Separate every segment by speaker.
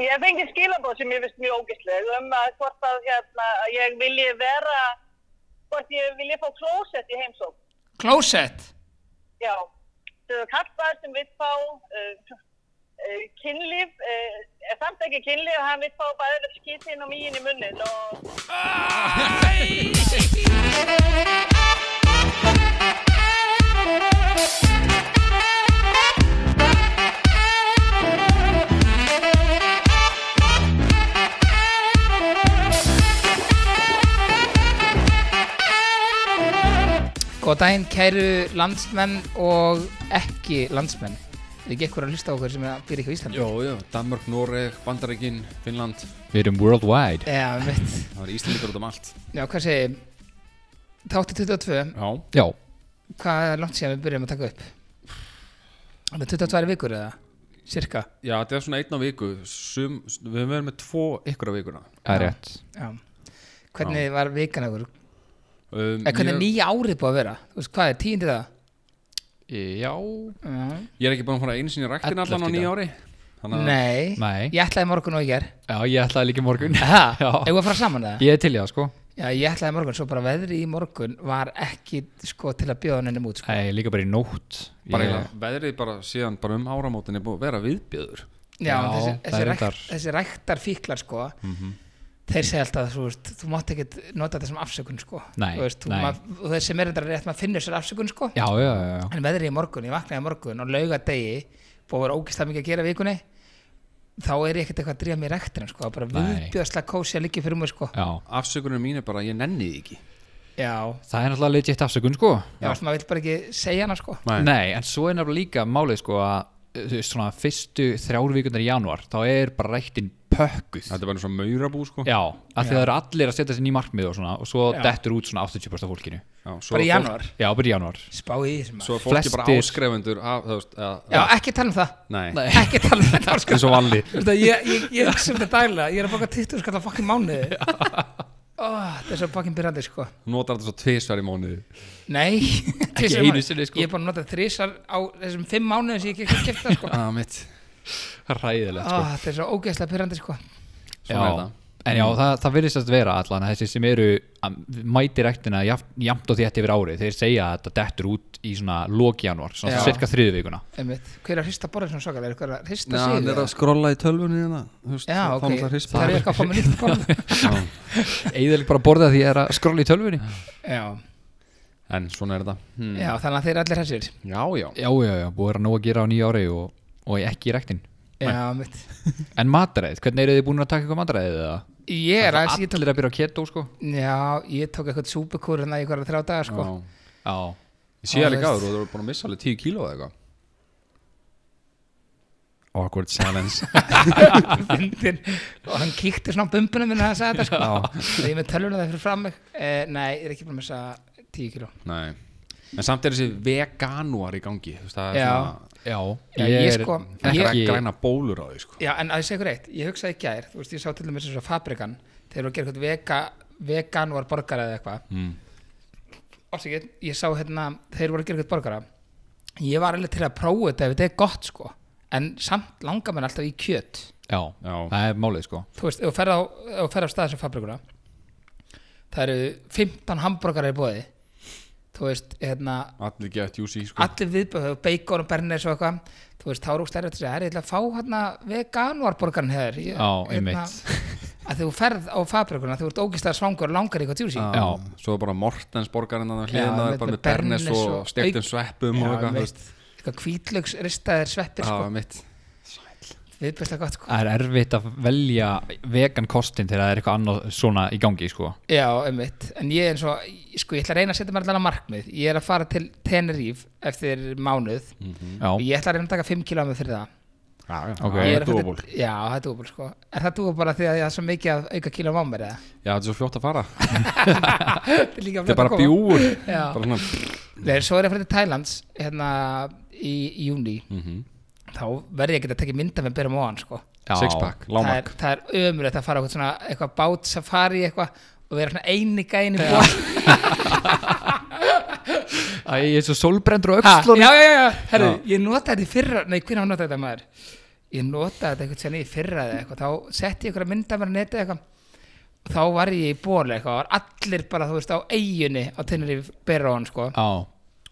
Speaker 1: Ég hef fengið skilabóð sem ég finnst mjög ógæsleg um að hvort að hérna, að ég vilji vera, hvort ég vilji fá klósett í heimsók.
Speaker 2: Klósett?
Speaker 1: Já, þau eru kallar sem vill fá uh, uh, kynlíf, uh, eh, samt ekki kynlíf, hann vill fá bæðið skýtin og mín í munnin og
Speaker 2: Góð daginn kæru landsmenn og ekki landsmenn. Er ekki eitthvað að hlusta á okkur sem er að byrja ekki á Íslandi?
Speaker 3: Jó, já, Danmark, Noreg, Bandaríkin, Finnland
Speaker 4: Við erum worldwide
Speaker 2: Já, mitt.
Speaker 3: Það var Íslandingar út um allt
Speaker 2: Já, hvað segir, þátti 22,
Speaker 3: Já,
Speaker 4: Já,
Speaker 2: hvað er langt síðan við byrjum að taka upp? Það er 22 vikur eða? Cirka?
Speaker 3: já þetta er svona einn á viku Sum, Við höfum verið með tvo ykkur á vikuna
Speaker 4: það er rétt
Speaker 2: Já. Hvernig var vikan okkur?
Speaker 3: um,
Speaker 2: Eða hvernig
Speaker 3: ég,
Speaker 2: er nýja árið búið að vera? Þú veist, hvað er tíundi það?
Speaker 4: Já,
Speaker 2: Já.
Speaker 3: ég er ekki búin að fara einu sinni í ræktin allan á
Speaker 4: 11 í dag.
Speaker 3: nýja ári Þannig að
Speaker 2: Nei.
Speaker 4: Nei.
Speaker 2: Ég ætlaði morgun og ég er.
Speaker 4: já ég ætlaði líka í morgun
Speaker 2: Ha?
Speaker 4: Já.
Speaker 2: Eða að fara saman það?
Speaker 4: Ég er til í það sko
Speaker 2: Já, ég ætlaði morgun, svo bara veðri í morgun var ekki sko til að bjóða henni út sko.
Speaker 4: Nei, líka bara í nótt
Speaker 3: bara
Speaker 4: ég,
Speaker 3: eiginlega veðrið bara síðan bara um áramótin er búið að vera viðbjöður
Speaker 2: Já,
Speaker 4: Já,
Speaker 2: þessi,
Speaker 4: það
Speaker 2: þessi,
Speaker 4: er
Speaker 2: rækt,
Speaker 4: reyndar- Mhm.
Speaker 2: þessi ræktar fíklar sko þeir segja alltaf þú, veist, þú mátt ekkert nota þetta sem afsökun sko
Speaker 4: Nei,
Speaker 2: þú veist,
Speaker 4: nei.
Speaker 2: Mað, og þeir sem er þetta rétt maður finnur sér afsökun sko
Speaker 4: Já, já, já, já.
Speaker 2: en veðrið í morgun, ég vaknaði í morgun og laugadegi búið að vera ógislega mikið að gera í vikunni þá er ég ekkert eitthvað að drífa mér rektina sko, bara
Speaker 4: Nei.
Speaker 2: viðbjöðslega kósi að liggja fyrir mér sko
Speaker 4: já
Speaker 3: Afsökunum mín er bara að ég nenni því ekki
Speaker 2: já,
Speaker 4: Það er náttúrulega legit afsökun sko
Speaker 2: já, já. maður vill bara ekki segja hana sko
Speaker 3: Nei.
Speaker 4: Nei, en svo er nefnilega líka málið sko að þú veist, svona fyrstu þrjár vikundar í januar þá er bara rættin pökkuð
Speaker 3: Þetta er bara svona maurabú sko
Speaker 4: Já, af því það eru allir að setja sér ný markmið og svona og svo
Speaker 2: Já.
Speaker 4: dettur út svona 80% af fólkinu
Speaker 3: Já, svo
Speaker 2: bara í
Speaker 3: er fólk-
Speaker 2: januar,
Speaker 4: Já, bara í januar
Speaker 2: spá í því sem maður
Speaker 3: Svo er fólki bara
Speaker 4: Flestir-
Speaker 3: áskrefendur af, þú veist, að,
Speaker 2: já, ekki tala um það
Speaker 3: Nei,
Speaker 4: Nei,
Speaker 2: ekki tala um þetta sko.
Speaker 4: eins og vanli
Speaker 2: Þú veist að ég, ég, ég hugsa um þetta daglega Ég er að baka 20 skall að fokkin mánuði Ó, Það er svo fokkin byrjandi sko
Speaker 3: notar þetta svo tvisvar í mónuði
Speaker 2: Nei tvisvar í
Speaker 4: einu
Speaker 2: mánuði.
Speaker 4: sinni, sko.
Speaker 2: Ég er bara að nota þrísar á þessum 5 mánuðum sem ég ekki kæft það sko Ó,
Speaker 3: ah, mitt
Speaker 4: Ræðilegt sko
Speaker 2: Það er svo ógeðslega byrjandi sko
Speaker 3: Svona er það
Speaker 4: En já, það, það virðist að vera allan að þessi sem eru að mæti rektina jafn- jafnt og þétt yfir árið þeir segja að þetta dettur út í svona lókjanúar, svona
Speaker 2: Já.
Speaker 4: cirka þriðu vikuna
Speaker 2: Einmitt. Hver er að hrista borðið svona svakalega? Er hver að hrista
Speaker 3: Já, hann
Speaker 2: sig?
Speaker 3: er að skrolla í tölvunni hérna þú
Speaker 2: Já,
Speaker 3: veist, þá
Speaker 2: ok,
Speaker 3: náttúrulega hrispar
Speaker 2: það er
Speaker 3: hann.
Speaker 2: eitthvað að fá mér nýtt borð
Speaker 3: Já.
Speaker 4: Eðalega bara að borða því að það er að skrolla í tölvunni
Speaker 2: Já,
Speaker 3: En svona er þetta hmm.
Speaker 2: já, þannig að þeir eru allir hessir
Speaker 3: Já, já
Speaker 4: Já, já, já, búið er að nóg að gera á nýja ári og, og ekki í rektin
Speaker 2: Já, mitt
Speaker 4: En mataræðið, hvernig eru þið búin að taka eitthvað mataræðið eða?
Speaker 2: Ég er aðeins, ég tók,
Speaker 4: Allir að byrja á keto sko
Speaker 2: já, ég tók eitthvað súpukúr hérna í hverja þrjá daga sko
Speaker 3: Já.
Speaker 4: Já,
Speaker 3: Ég sé það
Speaker 2: Já, þú
Speaker 3: líka áður og þú eru búin að missa alveg 10 kíló eða eitthvað Awkward silence
Speaker 2: fyndin og hann kíkti svona á bumbunum minna að sagði þetta sko og ég er með tölvuna það fyrir fram mig eh, nei, ég er ekki búin að missa 10 kíló
Speaker 3: Nei En samt er þessi veganuar í gangi þú veist, Það er
Speaker 2: Já.
Speaker 3: svona
Speaker 4: já,
Speaker 2: Já, ég sko-
Speaker 3: Það er
Speaker 4: ekki
Speaker 3: að græna bólur á því sko
Speaker 2: já, en að ég segja ykkur eitt, ég hugsaði í gær þú veist, ég sá til dæmis eins og fabrikan þeir eru að gera eitthvað vega, veganúar borgara eða eitthvað mm. ég, ég sá hérna, þeir voru að gera eitthvað borgara ég var alveg til að prófa þetta ef þetta er gott sko en samt langar mér alltaf í kjöt
Speaker 4: Já,
Speaker 3: Já.
Speaker 4: það er málið sko
Speaker 2: þú veist, ef þú ferð á, ef þú ferð á stað sem fabrikuna það eru 15 hambúrgarar í bóði þú veist, hérna
Speaker 3: Allir get juicy sko
Speaker 2: allir viðbjöðu, bacon og bernes og eitthvað þú veist, þá eru úrst erfitt að segja, "Herri, ég ætla að fá hérna veganvarborgarn hér Ég-
Speaker 4: Já,
Speaker 2: hérna, að þegar þú ferð á fabrikuna þú ert ógislega svangur og langar í eitthvað tjúsi
Speaker 3: Já.
Speaker 4: Já.
Speaker 3: Svo bara Mortens borgarinn að
Speaker 2: Já,
Speaker 3: hliðina
Speaker 2: með-
Speaker 3: er bara
Speaker 2: með
Speaker 3: með Bernes
Speaker 2: Bernes og-
Speaker 3: og stektum sveppum og eitthvað þú veist.
Speaker 2: eitthvað hvítlöks ristaðir sveppir
Speaker 3: Já,
Speaker 2: sko,
Speaker 3: mitt
Speaker 2: viðbjöðslega gott sko.
Speaker 4: Það er erfitt að velja vegan kostin þegar það er eitthvað annað svona í gangi sko
Speaker 2: Já, einmitt, en ég eins og sko, ég ætla að reyna að setja mér allan að markmið ég er að fara til Tenerife eftir mánuð
Speaker 3: Mm.
Speaker 4: Já,
Speaker 2: og ég ætla að reyna að taka 5 km fyrir það
Speaker 3: Já, já,
Speaker 4: Ok.
Speaker 3: það
Speaker 2: Ég
Speaker 3: er
Speaker 2: að fara
Speaker 3: doable.
Speaker 2: til- Já, það er dúbúl sko Er það dúbúl bara því að ég er svo mikið að auka kílum á mér eða?
Speaker 3: Já, þetta er svo fljótt að fara Þetta
Speaker 2: Þetta er líka
Speaker 3: er bara bjúur Bara svona
Speaker 2: Nei, svo er ég fyrir til Thailands hérna í, í júni
Speaker 3: Mhm.
Speaker 2: Þá verð ég að geta að tekja mynda með byrjum á hann sko
Speaker 4: já.
Speaker 3: Sixpack,
Speaker 2: það er,
Speaker 3: lámark
Speaker 2: það er ömulegt að fara á eitthvað svona eitthvað bát safari eitthvað og vera svona eini gæin í bóð
Speaker 4: Æ, ég er svo sólbrendur á
Speaker 2: Ha,
Speaker 4: öxlunum
Speaker 2: já, já, já, herru, ég notaði þetta í fyrra Nei, hvernig hann notaði þetta maður ég notaði þetta einhvern sérna í fyrra eða eitthvað þá setti ég ykkur að mynda mér að neta eitthvað og þá var ég í bóli eitthvað og var allir bara þú veist á eiginni á tennir í berón sko
Speaker 4: á,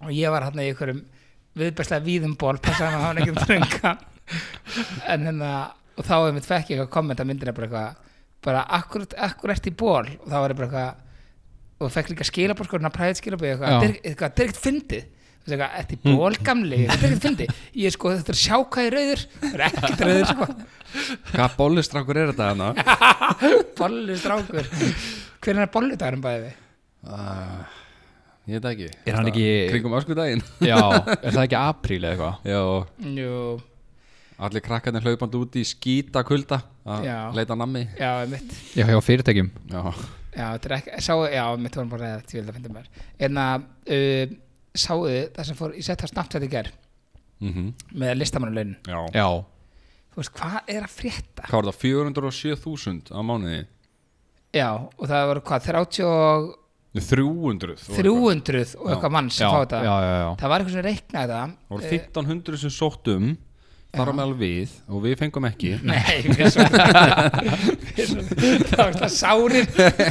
Speaker 2: og ég var hann í einhverjum viðbærslega víðum ból passaði maður að hafa ekkert þrönga en hérna og þá hefum við fekk ég eitthvað kommenta myndina bara eitthvað bara akkur, akkur ert í ból og þá var ég bara eitthvað og fekk líka skilabór sko hérna præðið skilabór eitthvað
Speaker 4: Já.
Speaker 2: þetta er- eitthvað, þetta er ekkert fyndið Þú veist eitthvað, Þetta er ból gamli, þetta er ekkert fyndið Ég er sko, þetta er að sjá hvað er rauður Það er ekkert rauður sko
Speaker 3: Hvað bollistrangur er þetta hana?
Speaker 2: Bolli strákur Hvernig er bolli dagurum bæði við?
Speaker 3: Uh, ég veit það ekki
Speaker 4: Er hann ekki-
Speaker 3: Kringum öskudaginn
Speaker 4: já, er það ekki apríl eða eitthvað
Speaker 3: Já, og
Speaker 2: Jú,
Speaker 3: allir krakkarnir hlaupandi úti í skýta kulda að
Speaker 2: Já.
Speaker 3: leita nammi
Speaker 2: já, mitt
Speaker 4: já, hjá fyrirtækjum
Speaker 3: Já,
Speaker 2: Já, þetta er ekki, sá, já, mitt vorum bara að því vil það finna mér. En að, uh, sáðu þið það sem fór, ég sett það Snapchat í ger
Speaker 3: mm
Speaker 2: með listamannulaunin.
Speaker 3: Já.
Speaker 4: Mhm. já,
Speaker 2: Þú veist, hvað er að frétta?
Speaker 3: Hvað var það, 407.000 á mánuði?
Speaker 2: Já, og það voru hvað, 30 og
Speaker 3: 300 og
Speaker 2: 300 og
Speaker 3: Já,
Speaker 2: eitthvað mann sem
Speaker 4: já,
Speaker 2: fá þetta.
Speaker 4: já, já, já.
Speaker 2: Það var eitthvað sem reiknaði það. Eh,
Speaker 3: Það voru 1500 sem sóttum þar á meðal við og við fengum ekki
Speaker 2: Nei, við svo við svo- Það var það sárir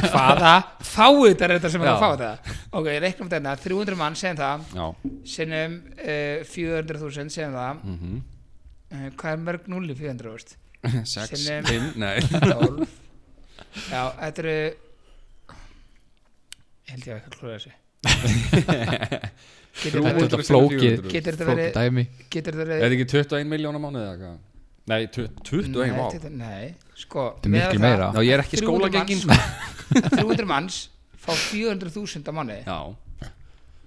Speaker 2: Hvaða fáið þetta er þetta sem er að
Speaker 4: Já.
Speaker 2: fá þetta Ok, ég reiknum þetta 300 mann sem það
Speaker 3: Já,
Speaker 2: sinnum uh, 400.000 sem það mm
Speaker 4: Mhm.
Speaker 2: hvað er mörg núli 400 úrst?
Speaker 3: 6,
Speaker 2: Sinnum.
Speaker 3: 5, nei
Speaker 2: 12 Já, þetta eru ég held ég að ekki að klúra þessu Getur þetta verið-
Speaker 4: þetta flókið
Speaker 2: Getur þetta
Speaker 4: flókið
Speaker 2: verið-
Speaker 4: dæmi
Speaker 2: getur þetta
Speaker 3: Er
Speaker 2: verið
Speaker 3: þetta ekki 21 miljón á mánuði eða eitthvað? Nei, tu- 21,
Speaker 2: Nei,
Speaker 3: vá
Speaker 2: þetta- Nei, sko
Speaker 4: er miklu
Speaker 2: meðan
Speaker 4: meira.
Speaker 2: það-
Speaker 3: Já, ég er ekki
Speaker 2: 300
Speaker 3: skólagengin sko.
Speaker 2: manns- 300 manns fá 400.000 á mánuði
Speaker 3: Já,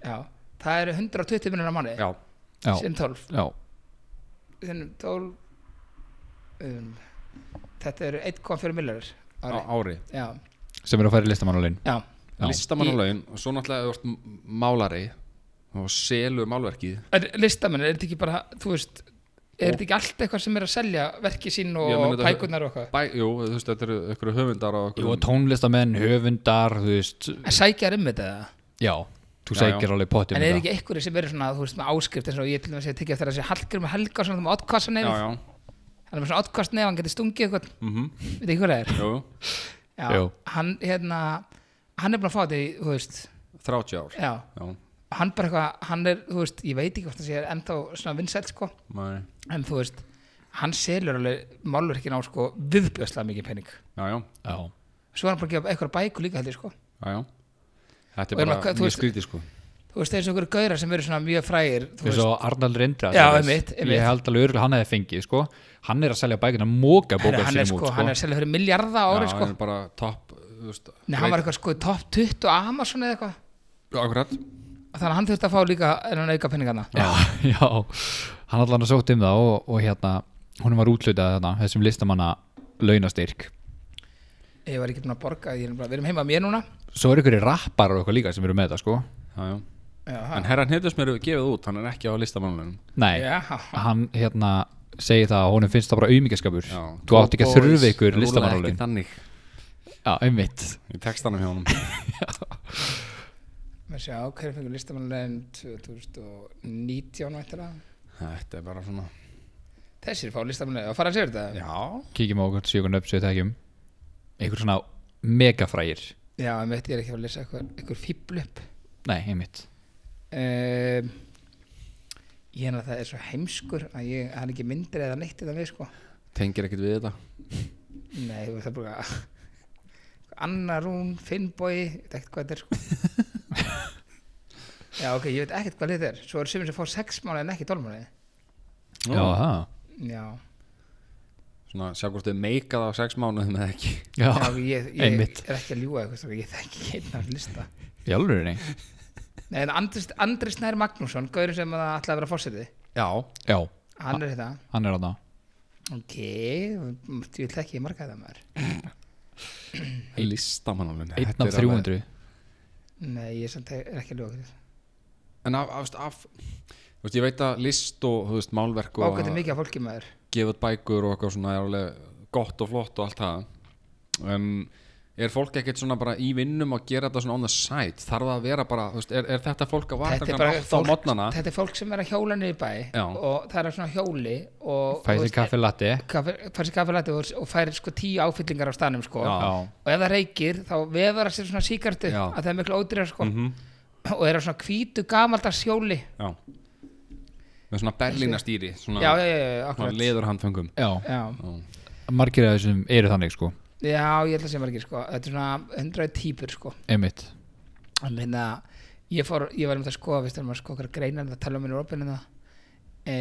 Speaker 2: Já, það eru 120 minnur á mánuði
Speaker 3: já,
Speaker 4: já,
Speaker 2: sem 12
Speaker 4: já,
Speaker 2: sem 12 um, þetta eru 1,4 millar
Speaker 3: á
Speaker 2: ári
Speaker 3: ári
Speaker 2: Já,
Speaker 4: sem er að fara í listamannulegin
Speaker 2: já,
Speaker 4: Já.
Speaker 3: Listamann og laun og svo náttúrulega ef þú ert m- málari og selur málverkið
Speaker 2: En listamenn, er þetta ekki bara, þú veist er þetta ekki allt eitthvað sem er að selja verki sín
Speaker 3: Ég meina
Speaker 2: og
Speaker 3: þetta-
Speaker 2: bækurnar og eitthvað
Speaker 3: Bæ, jú, þú veist, þetta eru ykkur höfundar og
Speaker 4: Jú,
Speaker 3: ykkur
Speaker 4: tónlistamenn, höfundar, þú veist
Speaker 2: að sækja um þetta eða?
Speaker 4: Já, þú
Speaker 3: Já,
Speaker 4: sækir
Speaker 3: já.
Speaker 4: alveg pottum
Speaker 2: en er ekki einhverju sem eru svona, þú veist, með áskrift eins og ég til dæmis hef tekið eftir að segja Hallgrim Helga svona með oddkassa
Speaker 3: Já,
Speaker 2: nefn
Speaker 3: já,
Speaker 2: hann er með svona oddkassa nefn, hann getur stungið eitthvað
Speaker 3: mhm,
Speaker 2: veit ekki hvað það er
Speaker 3: jú,
Speaker 2: já,
Speaker 4: Jú.
Speaker 2: hann, hérna, hann er búin að fá þetta í, þú veist,
Speaker 3: 30 ár
Speaker 2: já
Speaker 3: Já,
Speaker 2: og hann bara eitthvað, hann er, þú veist, ég veit ekki hvort það sé ennþá svona vinsælt sko
Speaker 3: nei,
Speaker 2: en þú veist, hann selur alveg málverkin á sko viðbjöðslega mikið pening
Speaker 3: já, já,
Speaker 4: Já,
Speaker 2: svo er hann bara að gefa eitthvað bækur líka held ég sko
Speaker 3: já, já Þetta
Speaker 2: Og
Speaker 3: er
Speaker 2: er
Speaker 3: bara
Speaker 2: maður- þú
Speaker 3: mjög
Speaker 2: veist-
Speaker 3: skrítið sko
Speaker 2: þú veist eins og einhverju gauðra sem eru svona mjög frægir þú
Speaker 4: þú veist
Speaker 2: veist,
Speaker 4: og Arnaldur Indra
Speaker 2: Já,
Speaker 4: þú veist.
Speaker 2: einmitt, einmitt.
Speaker 4: Ég held alveg örgulega hann hefði fengið, sko Hann er að selja bækina móka
Speaker 2: hann,
Speaker 4: bókar
Speaker 2: hann er
Speaker 4: sínum
Speaker 2: sko,
Speaker 4: út,
Speaker 2: hann er að selja fyrir miljarda á ári
Speaker 3: Já,
Speaker 2: sko
Speaker 3: hann er bara topp þú veist,
Speaker 2: Nei, hann var eitthvað sko í topp 20 á Amazon eða eitthvað
Speaker 3: Já, akkurat
Speaker 2: Og þannig að hann þurfti að fá líka en hann auka peningana
Speaker 4: Já, já, hann allan að sótt um það og, og hérna, hún var útlutað þarna, þessum listamanna launastyrk
Speaker 2: ég var ekki búin að borga, ég er bara, við erum heima að mér núna
Speaker 4: Svo eru ykkur rapparar og eitthvað líka sem eru með það, sko
Speaker 3: já, já.
Speaker 2: já,
Speaker 3: En
Speaker 2: hann,
Speaker 3: herran hittus mér gefið út, hann er ekki á listamannlunum
Speaker 4: Nei,
Speaker 2: já,
Speaker 4: hann hérna segir það að honum finnst það bara auðmíkaskapur
Speaker 3: Já,
Speaker 4: Þú átt ekki að þurfa ykkur
Speaker 3: Ekki
Speaker 4: listamannulegin
Speaker 3: þannig
Speaker 4: Já, einmitt
Speaker 3: í textanum hjá honum
Speaker 2: við sjá, hverju fengur listamannulegin 2019 væntanlega?
Speaker 3: Þetta er bara svona
Speaker 2: þessir fá listamannulegin, að fara að segja þetta
Speaker 3: Já,
Speaker 4: Kíkjum á okkur, sjögun upp, sjöðu þekkjum Einhver svona megafrægir
Speaker 2: já, ég veit, ég er ekki að fara að lesa eitthvað, eitthvað fíbl upp
Speaker 4: Nei, einmitt
Speaker 2: um, ég er að það er svo heimskur að ég, hann er ekki myndir eða neitt þetta við sko
Speaker 3: tengir ekkert við þetta
Speaker 2: Nei, þú veist það er bara Anna Rún, Finnbói Ég veit ekkert hvað þetta er sko Já, ok, ég veit ekkert hvað þetta er Svo eru sumir sem fá sex mánuði en ekki 12 mánuði
Speaker 4: Já, það
Speaker 2: Já,
Speaker 3: Svona, sjá hvort þið meika það á sex mánuðum eða ekki
Speaker 4: Já,
Speaker 2: Já ég, ég er
Speaker 4: einmitt.
Speaker 2: ekki að ljúga eitthvað strákar, Ég þekki ekki einn af lista
Speaker 4: í alvörinni
Speaker 2: Nei, en Andri, Andri Snær Magnússon Gaurin sem að ætlaði að vera fórsetið
Speaker 3: Já
Speaker 4: Já, Ah.
Speaker 2: Hann er þetta
Speaker 4: hann er þarna
Speaker 2: Ok, ég vil þekki ég marga þetta maður
Speaker 3: Listamannlunum
Speaker 4: Einn af 300
Speaker 2: Nei, ég samt er ekki að ljúga þetta
Speaker 3: En af, af, af Þú veist, ég veit að list og, þú veist, málverk
Speaker 4: Sko-
Speaker 3: og
Speaker 2: Bákvæmt er mikið af fólki maður
Speaker 3: gefa út bækur og eitthvað svona er alveg gott og flott og allt það en Er fólk ekkert svona bara í vinnum að gera þetta svona on the side? Þarf það að vera bara, þú veist, er, er þetta fólk að
Speaker 2: þetta,
Speaker 3: vakna
Speaker 2: er
Speaker 3: kannan
Speaker 2: bara
Speaker 3: 8 á
Speaker 2: fólk,
Speaker 3: modnana?
Speaker 2: þetta er fólk sem er að hjóla niður í bæ
Speaker 3: Já.
Speaker 2: og það er svona hjóli og
Speaker 4: fæði sér kaffi latte
Speaker 2: fær sér kaffelæti og, og fær sko tíu áfyllingar á stanum sko.
Speaker 3: Já.
Speaker 2: og ef það reykir þá vefur það sér svona síkartu
Speaker 3: Já. Mhm.
Speaker 2: að það er miklu ódýrar sko. og er á svona hvítu gamaldags hjóli
Speaker 3: Já. Með svona berlínastýri, svona,
Speaker 2: já, já, já, já,
Speaker 3: svona
Speaker 2: akkurat
Speaker 3: leðurhandföngum.
Speaker 4: já,
Speaker 2: já.
Speaker 4: margir af þessum eru þannig sko
Speaker 2: já, ég held að segja margir sko. þetta er svona 100 típur sko.
Speaker 4: einmitt
Speaker 2: að minna ég, fór, ég var um það að skoða veist, erum að skoða okkar greinar það tala um minni opinu það e,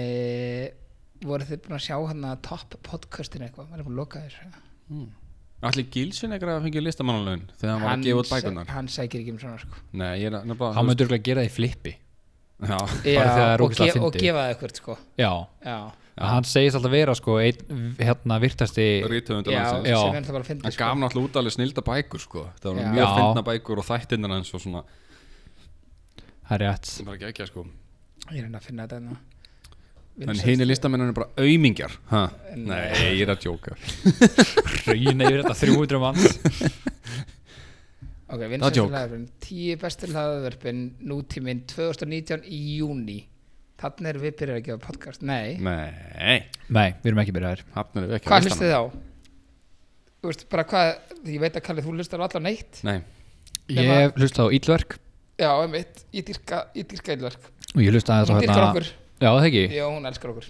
Speaker 2: voru þið búin að sjá hann að topp podcastinu eitthvað, maður er búin að loka þessu
Speaker 3: Allir Gilsin ekkert að fengja listamannalaun þegar hann var að gefa út bækunar.
Speaker 2: hann sækir ekki um svona sko.
Speaker 3: Nei, ég er að- nefnilega...
Speaker 4: hann myndi örgulega gera það í flippi
Speaker 3: Já,
Speaker 2: Já,
Speaker 4: þegar það er
Speaker 2: og,
Speaker 4: ógeðslega
Speaker 2: og
Speaker 4: fyndið.
Speaker 2: gefa það eitthvað sko.
Speaker 4: já,
Speaker 2: já,
Speaker 4: hann segist alltaf vera sko einn hérna virtasti
Speaker 3: rítöfundur
Speaker 2: Eh, já,
Speaker 3: landsins.
Speaker 4: Já.
Speaker 2: sem er það bara að sko. fyndi
Speaker 3: Hann gaf náttúrulega út alveg snilda bækur, sko. Það
Speaker 2: Já.
Speaker 3: var mjög
Speaker 4: Já.
Speaker 3: fyndna bækur og þættinnar hans og svona,
Speaker 4: það er rétt
Speaker 3: sem bara ekki ekki, sko.
Speaker 2: ég reyna að finna þetta hérna.
Speaker 3: En
Speaker 2: Vincent-
Speaker 3: hinn í listamennunum er bara aumingjar. Ha? Nei, ég er að djóka.
Speaker 4: rauðin yfir þetta 300 manns
Speaker 2: ok,
Speaker 3: Það er
Speaker 2: vinsæstu
Speaker 3: joke.
Speaker 2: hlaðvörpin 10 bestu hlaðvörpin nútíminn 2019 í júni þannig erum við byrjar að gefa podcast nei,
Speaker 3: Nei,
Speaker 4: nei, við erum ekki byrjaðir
Speaker 3: hafnir við ekki
Speaker 2: Hvað hlustið þið á? Þú veist, bara hvað, ég veit að Kallið, þú hlustar á allan neitt
Speaker 3: Nei,
Speaker 2: Hérna-
Speaker 4: ég hlusta á Ítlverk
Speaker 2: Já, einmitt, ég dýrka, ég dýrka eilverk
Speaker 4: og ég hlusta aðeins á hérna-
Speaker 2: Hún dýrkar okkur,
Speaker 4: já, það ekki
Speaker 2: já, hún elskar okkur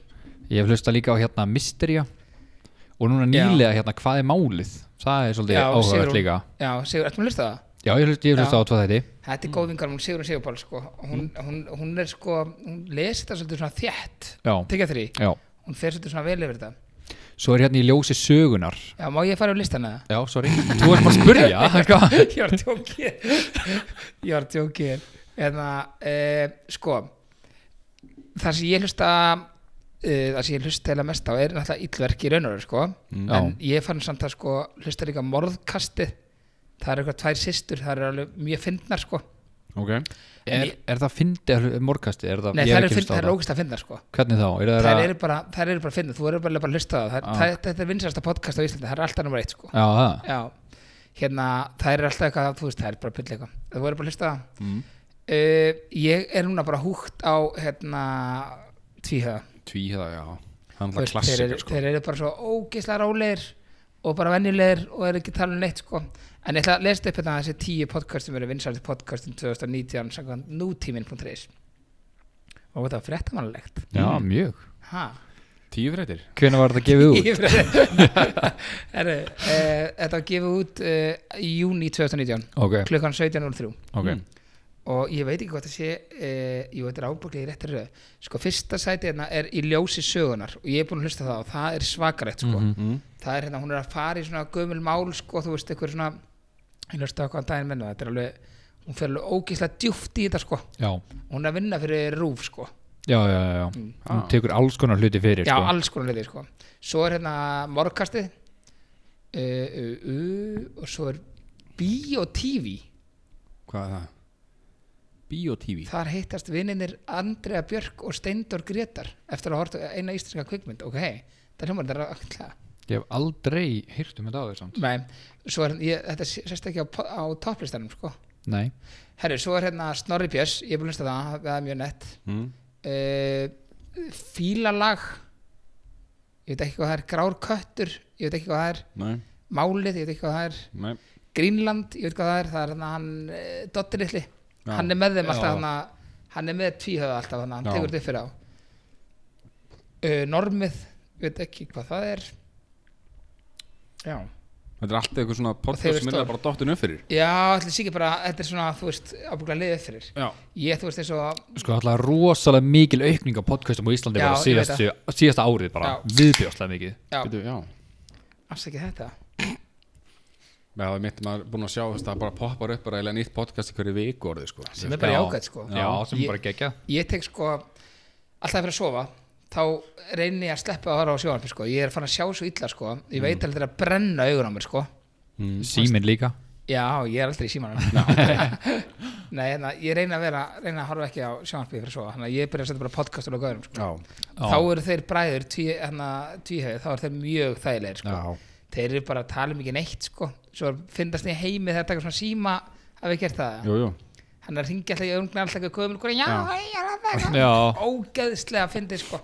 Speaker 4: Ég hef hlusta líka á hérna Mysteria og núna
Speaker 2: Já.
Speaker 4: nýlega hérna Hvað er málið? Það er svolítið
Speaker 2: Já,
Speaker 4: áhugavert
Speaker 2: Sigrún.
Speaker 4: líka
Speaker 2: Já, Sigur, ertu með að hlusta á það?
Speaker 4: Já, ég hlusta, ég hlusta
Speaker 2: Já.
Speaker 4: á tvo þætti
Speaker 2: Þetta
Speaker 4: Mm.
Speaker 2: er góð vingar, hún Sigur og Sigurpál, sko hún, hún, hún er sko, hún lesi þetta svolítið svona þétt
Speaker 4: Já,
Speaker 2: Tekja þrý,
Speaker 4: já
Speaker 2: hún fer svolítið svona vel yfir þetta
Speaker 4: Svo er hérna í ljósi sögunar
Speaker 2: Já, má ég fara á listana það?
Speaker 4: Já, sorry Þú ert bara að spurja hvað?
Speaker 2: ég var tjókir ég var tjókir en að e, sko það sem ég hlusta e, það sem ég hlusta eða mest á er náttúrulega illverk í raunarur sko
Speaker 4: Mm. Já.
Speaker 2: en ég fann samt að sko hlusta líka á morðkastið það eru eitthvað tvær systur það eru alveg mjög fyndnar sko
Speaker 3: ok
Speaker 4: er, er það fyndi að hlu- morgkasti? Er það,
Speaker 2: Nei,
Speaker 4: ég hef
Speaker 2: það eru
Speaker 4: ekki
Speaker 2: fynd-
Speaker 4: hlustað
Speaker 2: það
Speaker 4: á
Speaker 2: eru ógæst að fyndnar sko
Speaker 4: Hvernig þá? Er það
Speaker 2: Það
Speaker 4: að
Speaker 2: eru bara, það eru bara að finna, þú eru bara að hlusta á það, það, það þetta er vinsasta podcast á Íslandi, það er alltaf nummer eitt sko.
Speaker 4: Já, það
Speaker 2: Já, hérna, það er alltaf eitthvað, þú veist, það er bara pull eitthvað. Þú verður bara að hlusta á það. Mm. ég er núna bara húgt á, hérna, tvíhöða.
Speaker 3: Tvíhæða, já Hann
Speaker 2: Þú
Speaker 3: er
Speaker 2: veist, þeir, eru-
Speaker 3: klassikar, sko
Speaker 2: þeir eru bara svo ógeðslega ráleir og bara venjulegir og eru ekki að tala um neitt, sko. En ég ætla að lesa upp hérna þessi tíu podcast um sem eru vinsælti podcastum 2019 samkvæmt nútímin.is. Og þetta var fréttamannlegt.
Speaker 4: Já, mjög
Speaker 2: Hæ?
Speaker 3: Tíu fréttir
Speaker 4: Hvernig Mm. var þetta gefið út?
Speaker 2: Herru, e, þetta var gefið út e, í júni 2019,
Speaker 4: Ok,
Speaker 2: klukkan 17.03.
Speaker 4: ok
Speaker 2: og ég veit ekki hvað það sé eh, jú, þetta er ábúrlega í réttir röð sko, fyrsta sæti hérna er í ljósi sögunar og ég er búin að hlusta á það og það er svakarætt sko.
Speaker 3: Mhm. Mm.
Speaker 2: það er hérna, hún er að fara í svona gömul mál, sko, þú veist, eitthvað svona ég hlusta á hvað daginn menna, þetta er alveg hún fer alveg ógeðslega djúft í þetta, sko
Speaker 4: Já,
Speaker 2: hún er að vinna fyrir rúf, sko
Speaker 4: já, já, já, já. Hún tekur alls konar hluti
Speaker 2: Mm.
Speaker 4: fyrir
Speaker 2: já,
Speaker 4: sko.
Speaker 2: alls konar hluti, sko svo er hérna morgkastið uh, uh, uh, og svo er Bíotívi
Speaker 3: Hvað er það? Bíotívi
Speaker 2: Þar hittast vinninir Andrea Björk og Steindor Gretar eftir að horta eina íslenska kvikmynd. Ok, það hljómar þetta alltaf.
Speaker 4: Ég hef aldrei hýrt um þetta á þessum
Speaker 2: Nei, svo er, hérna, ég, þetta sérst ekki á, po- á topplistanum, sko.
Speaker 4: Nei
Speaker 2: Herru, svo er hérna Snorri Björs, ég er búin að hlusta á það, það er mjög nett.
Speaker 3: mm.
Speaker 2: Uh, fílalag, ég veit ekki hvað það er, grár köttur, ég veit ekki hvað það er,
Speaker 3: Nei,
Speaker 2: málið, ég veit ekki hvað það er,
Speaker 3: nei
Speaker 2: Grínland, ég veit hvað það er, það er hérna hann uh, Dottirilli,
Speaker 3: Já.
Speaker 2: hann er með þeim alltaf
Speaker 4: Já.
Speaker 2: hann hann er með tvíhöða alltaf hann, hann
Speaker 3: Já.
Speaker 2: tekur þetta upp fyrir á uh, Normið, ég veit ekki hvað það er Já
Speaker 3: Þetta er alltaf eitthvað svona
Speaker 2: þeir
Speaker 3: podcast
Speaker 2: eru
Speaker 3: sem er
Speaker 2: stór.
Speaker 3: bara dottin upp fyrir
Speaker 2: Já, ætli sé ekki bara, þetta er svona, þú veist, ábúinlega liðið upp fyrir
Speaker 3: Já
Speaker 2: Ég, þú veist, eins og
Speaker 4: Sko alltaf rosalega mikil aukning á podcastum á Íslandi
Speaker 2: Já,
Speaker 4: bara
Speaker 2: ég veit
Speaker 4: síðast, síðasta árið bara
Speaker 2: Já.
Speaker 4: viðbjóðslega mikið
Speaker 2: Já,
Speaker 3: Veitu, já
Speaker 2: afsækið þetta
Speaker 3: Já, það er mitt maður búin að sjá þess að það bara poppar upp bara eiginlega nýtt podcast í hverju viku orðið, sko
Speaker 2: Sem er bara
Speaker 4: Já.
Speaker 2: jákvæmt, sko
Speaker 4: Já, sem
Speaker 2: Ég-
Speaker 4: bara gegja
Speaker 2: Ég tek, sko, alltaf fyrir að sofa þá reyni ég að sleppa að horfa á sjónarfið, sko Ég er fann að sjá svo illa, sko Ég veit
Speaker 4: Mm.
Speaker 2: alveg þetta er að brenna augun á mér, sko
Speaker 4: Síminn líka
Speaker 2: Já, ég er aldrei í símanum Nei, hérna, ég reyna að vera reyna að horfa ekki á sjónvarpið fyrir svo þannig að ég byrja að setja bara podcast og lögauðum sko.
Speaker 3: Já
Speaker 2: þá eru þeir bræður tví, hérna, tvíhauð, þá eru þeir mjög þægilegir sko. þeir eru bara að tala um ekki neitt sko. svo finnast þeir heimi þegar taka svona síma hafi gert það
Speaker 3: Jú, jú,
Speaker 2: hann er að ringja alltaf í öngna alltaf ekki að kömur já,
Speaker 3: Já.
Speaker 2: hei, já, það er
Speaker 4: Já.
Speaker 2: ógeðslega að fyndi sko.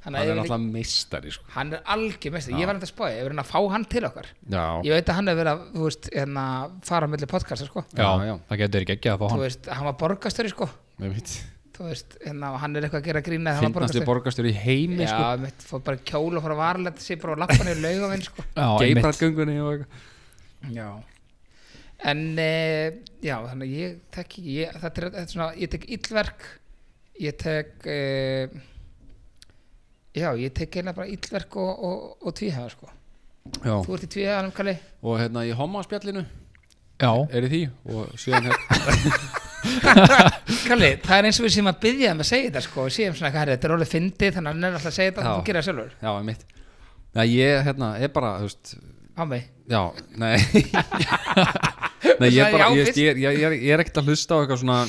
Speaker 2: hann,
Speaker 3: hann
Speaker 2: er
Speaker 3: er
Speaker 2: yfirleitt-
Speaker 3: náttúrulega meistari sko.
Speaker 2: hann er algjör mest ég var hann að spáði, ég var hann að fá hann til okkar
Speaker 3: Já,
Speaker 2: ég veit að hann hefur verið að þú veist, hérna, fara á milli podcasta sko.
Speaker 3: Já, já.
Speaker 4: það getur ekki ekki að fá
Speaker 2: Þú
Speaker 4: hann
Speaker 2: veist, hann var borgastöri sko.
Speaker 3: ég veit
Speaker 2: Þú veist, hérna, hann er eitthvað að gera grína hann var
Speaker 3: Finnastu
Speaker 2: borgarstjóri.
Speaker 3: borgastur í heimi
Speaker 2: Já,
Speaker 3: sko.
Speaker 2: mitt, fór bara í kjól og fór að varlega sér bara á lappan í laugavinn sko.
Speaker 4: Já, einmitt.
Speaker 3: Geibrargöngunni og eitthvað
Speaker 2: Já En e, já, þannig að ég tek ekki ég, þetta, er, þetta er svona, ég tek illverk ég tek e, já, ég tek eiginlega bara illverk og, og, og tvíhæða sko.
Speaker 3: Já,
Speaker 2: Þú ert í tvíhæðanum, Kalli
Speaker 3: og hérna í hommaspjallinu
Speaker 4: Já,
Speaker 3: er í því og síðan hérna- hér
Speaker 2: Kalli, það er eins og við séum að byggja um að segja þetta sko, við séum svona hvað þetta er orðið fyndið þannig að hann er alltaf að segja þetta
Speaker 3: Já.
Speaker 2: og þú gerir það sjálfur
Speaker 3: Já, ég mitt Já, ég hérna, er bara, þú veist
Speaker 2: á mig
Speaker 3: Já, nei Nei, ég er
Speaker 2: sagði já
Speaker 3: bara, ég,
Speaker 2: fyrst.
Speaker 3: veist, ég, er- ég, er- ég er ekkert að hlusta á eitthvað svona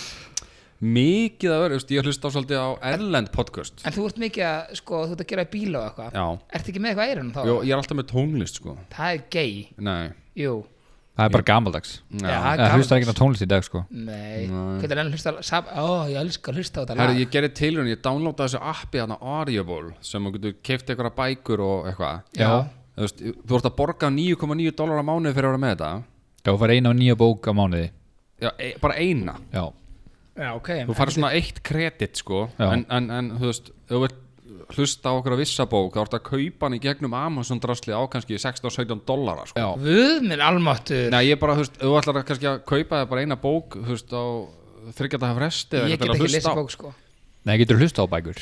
Speaker 3: mikið að vera, þú veist, ég hlusta á svolítið á erlend podcast
Speaker 2: En þú ert mikið að, sko, þú ert að gera bíla og eitthvað
Speaker 3: Já,
Speaker 2: Ertu ekki með eitthvað eirunum þá?
Speaker 3: Jó, ég er alltaf með tónlist sko
Speaker 2: Það er gay,
Speaker 3: Nei,
Speaker 2: jú
Speaker 4: það er bara gammaldags
Speaker 2: Já, það er
Speaker 4: Það hlustar
Speaker 2: gaman.
Speaker 4: ekki á tónlist í dag sko
Speaker 2: Nei, hvernig er enn hlusta sab, Ó, ég elska að hlusta á þetta
Speaker 3: Herri,
Speaker 2: lag
Speaker 3: ég gerði tilraun, ég downloadaði þessu appi þarna Audible sem þú getur keift einhverja bækur og eitthvað
Speaker 4: Já,
Speaker 3: Þú veist, þú ert að borga 9,9 dólar á mánuði fyrir að vera með þetta
Speaker 4: já, þú fær eina og nýja bók á mánuði
Speaker 3: Já, e bara eina
Speaker 4: Já,
Speaker 2: Já, ok
Speaker 3: Þú farið svona eitt kredit sko
Speaker 4: Já.
Speaker 3: en, en, en þú veist, ef þú vilt hlusta á okkur að vissa bók þá ert að kaupa hann í gegnum Amazon drasli á kannski 16-17 dólarar sko
Speaker 4: já,
Speaker 2: Guð minn almáttur
Speaker 3: Nei, ég bara, þú veist, ef þú ætlar að kannski að kaupa þér bara eina bók, þú veist, á þryggjata fresti eða
Speaker 2: Ég get
Speaker 3: eitthvað til að
Speaker 2: ekki
Speaker 3: hlusta
Speaker 2: lesa
Speaker 3: á.
Speaker 2: bók sko
Speaker 4: nei, getur hlusta á bækur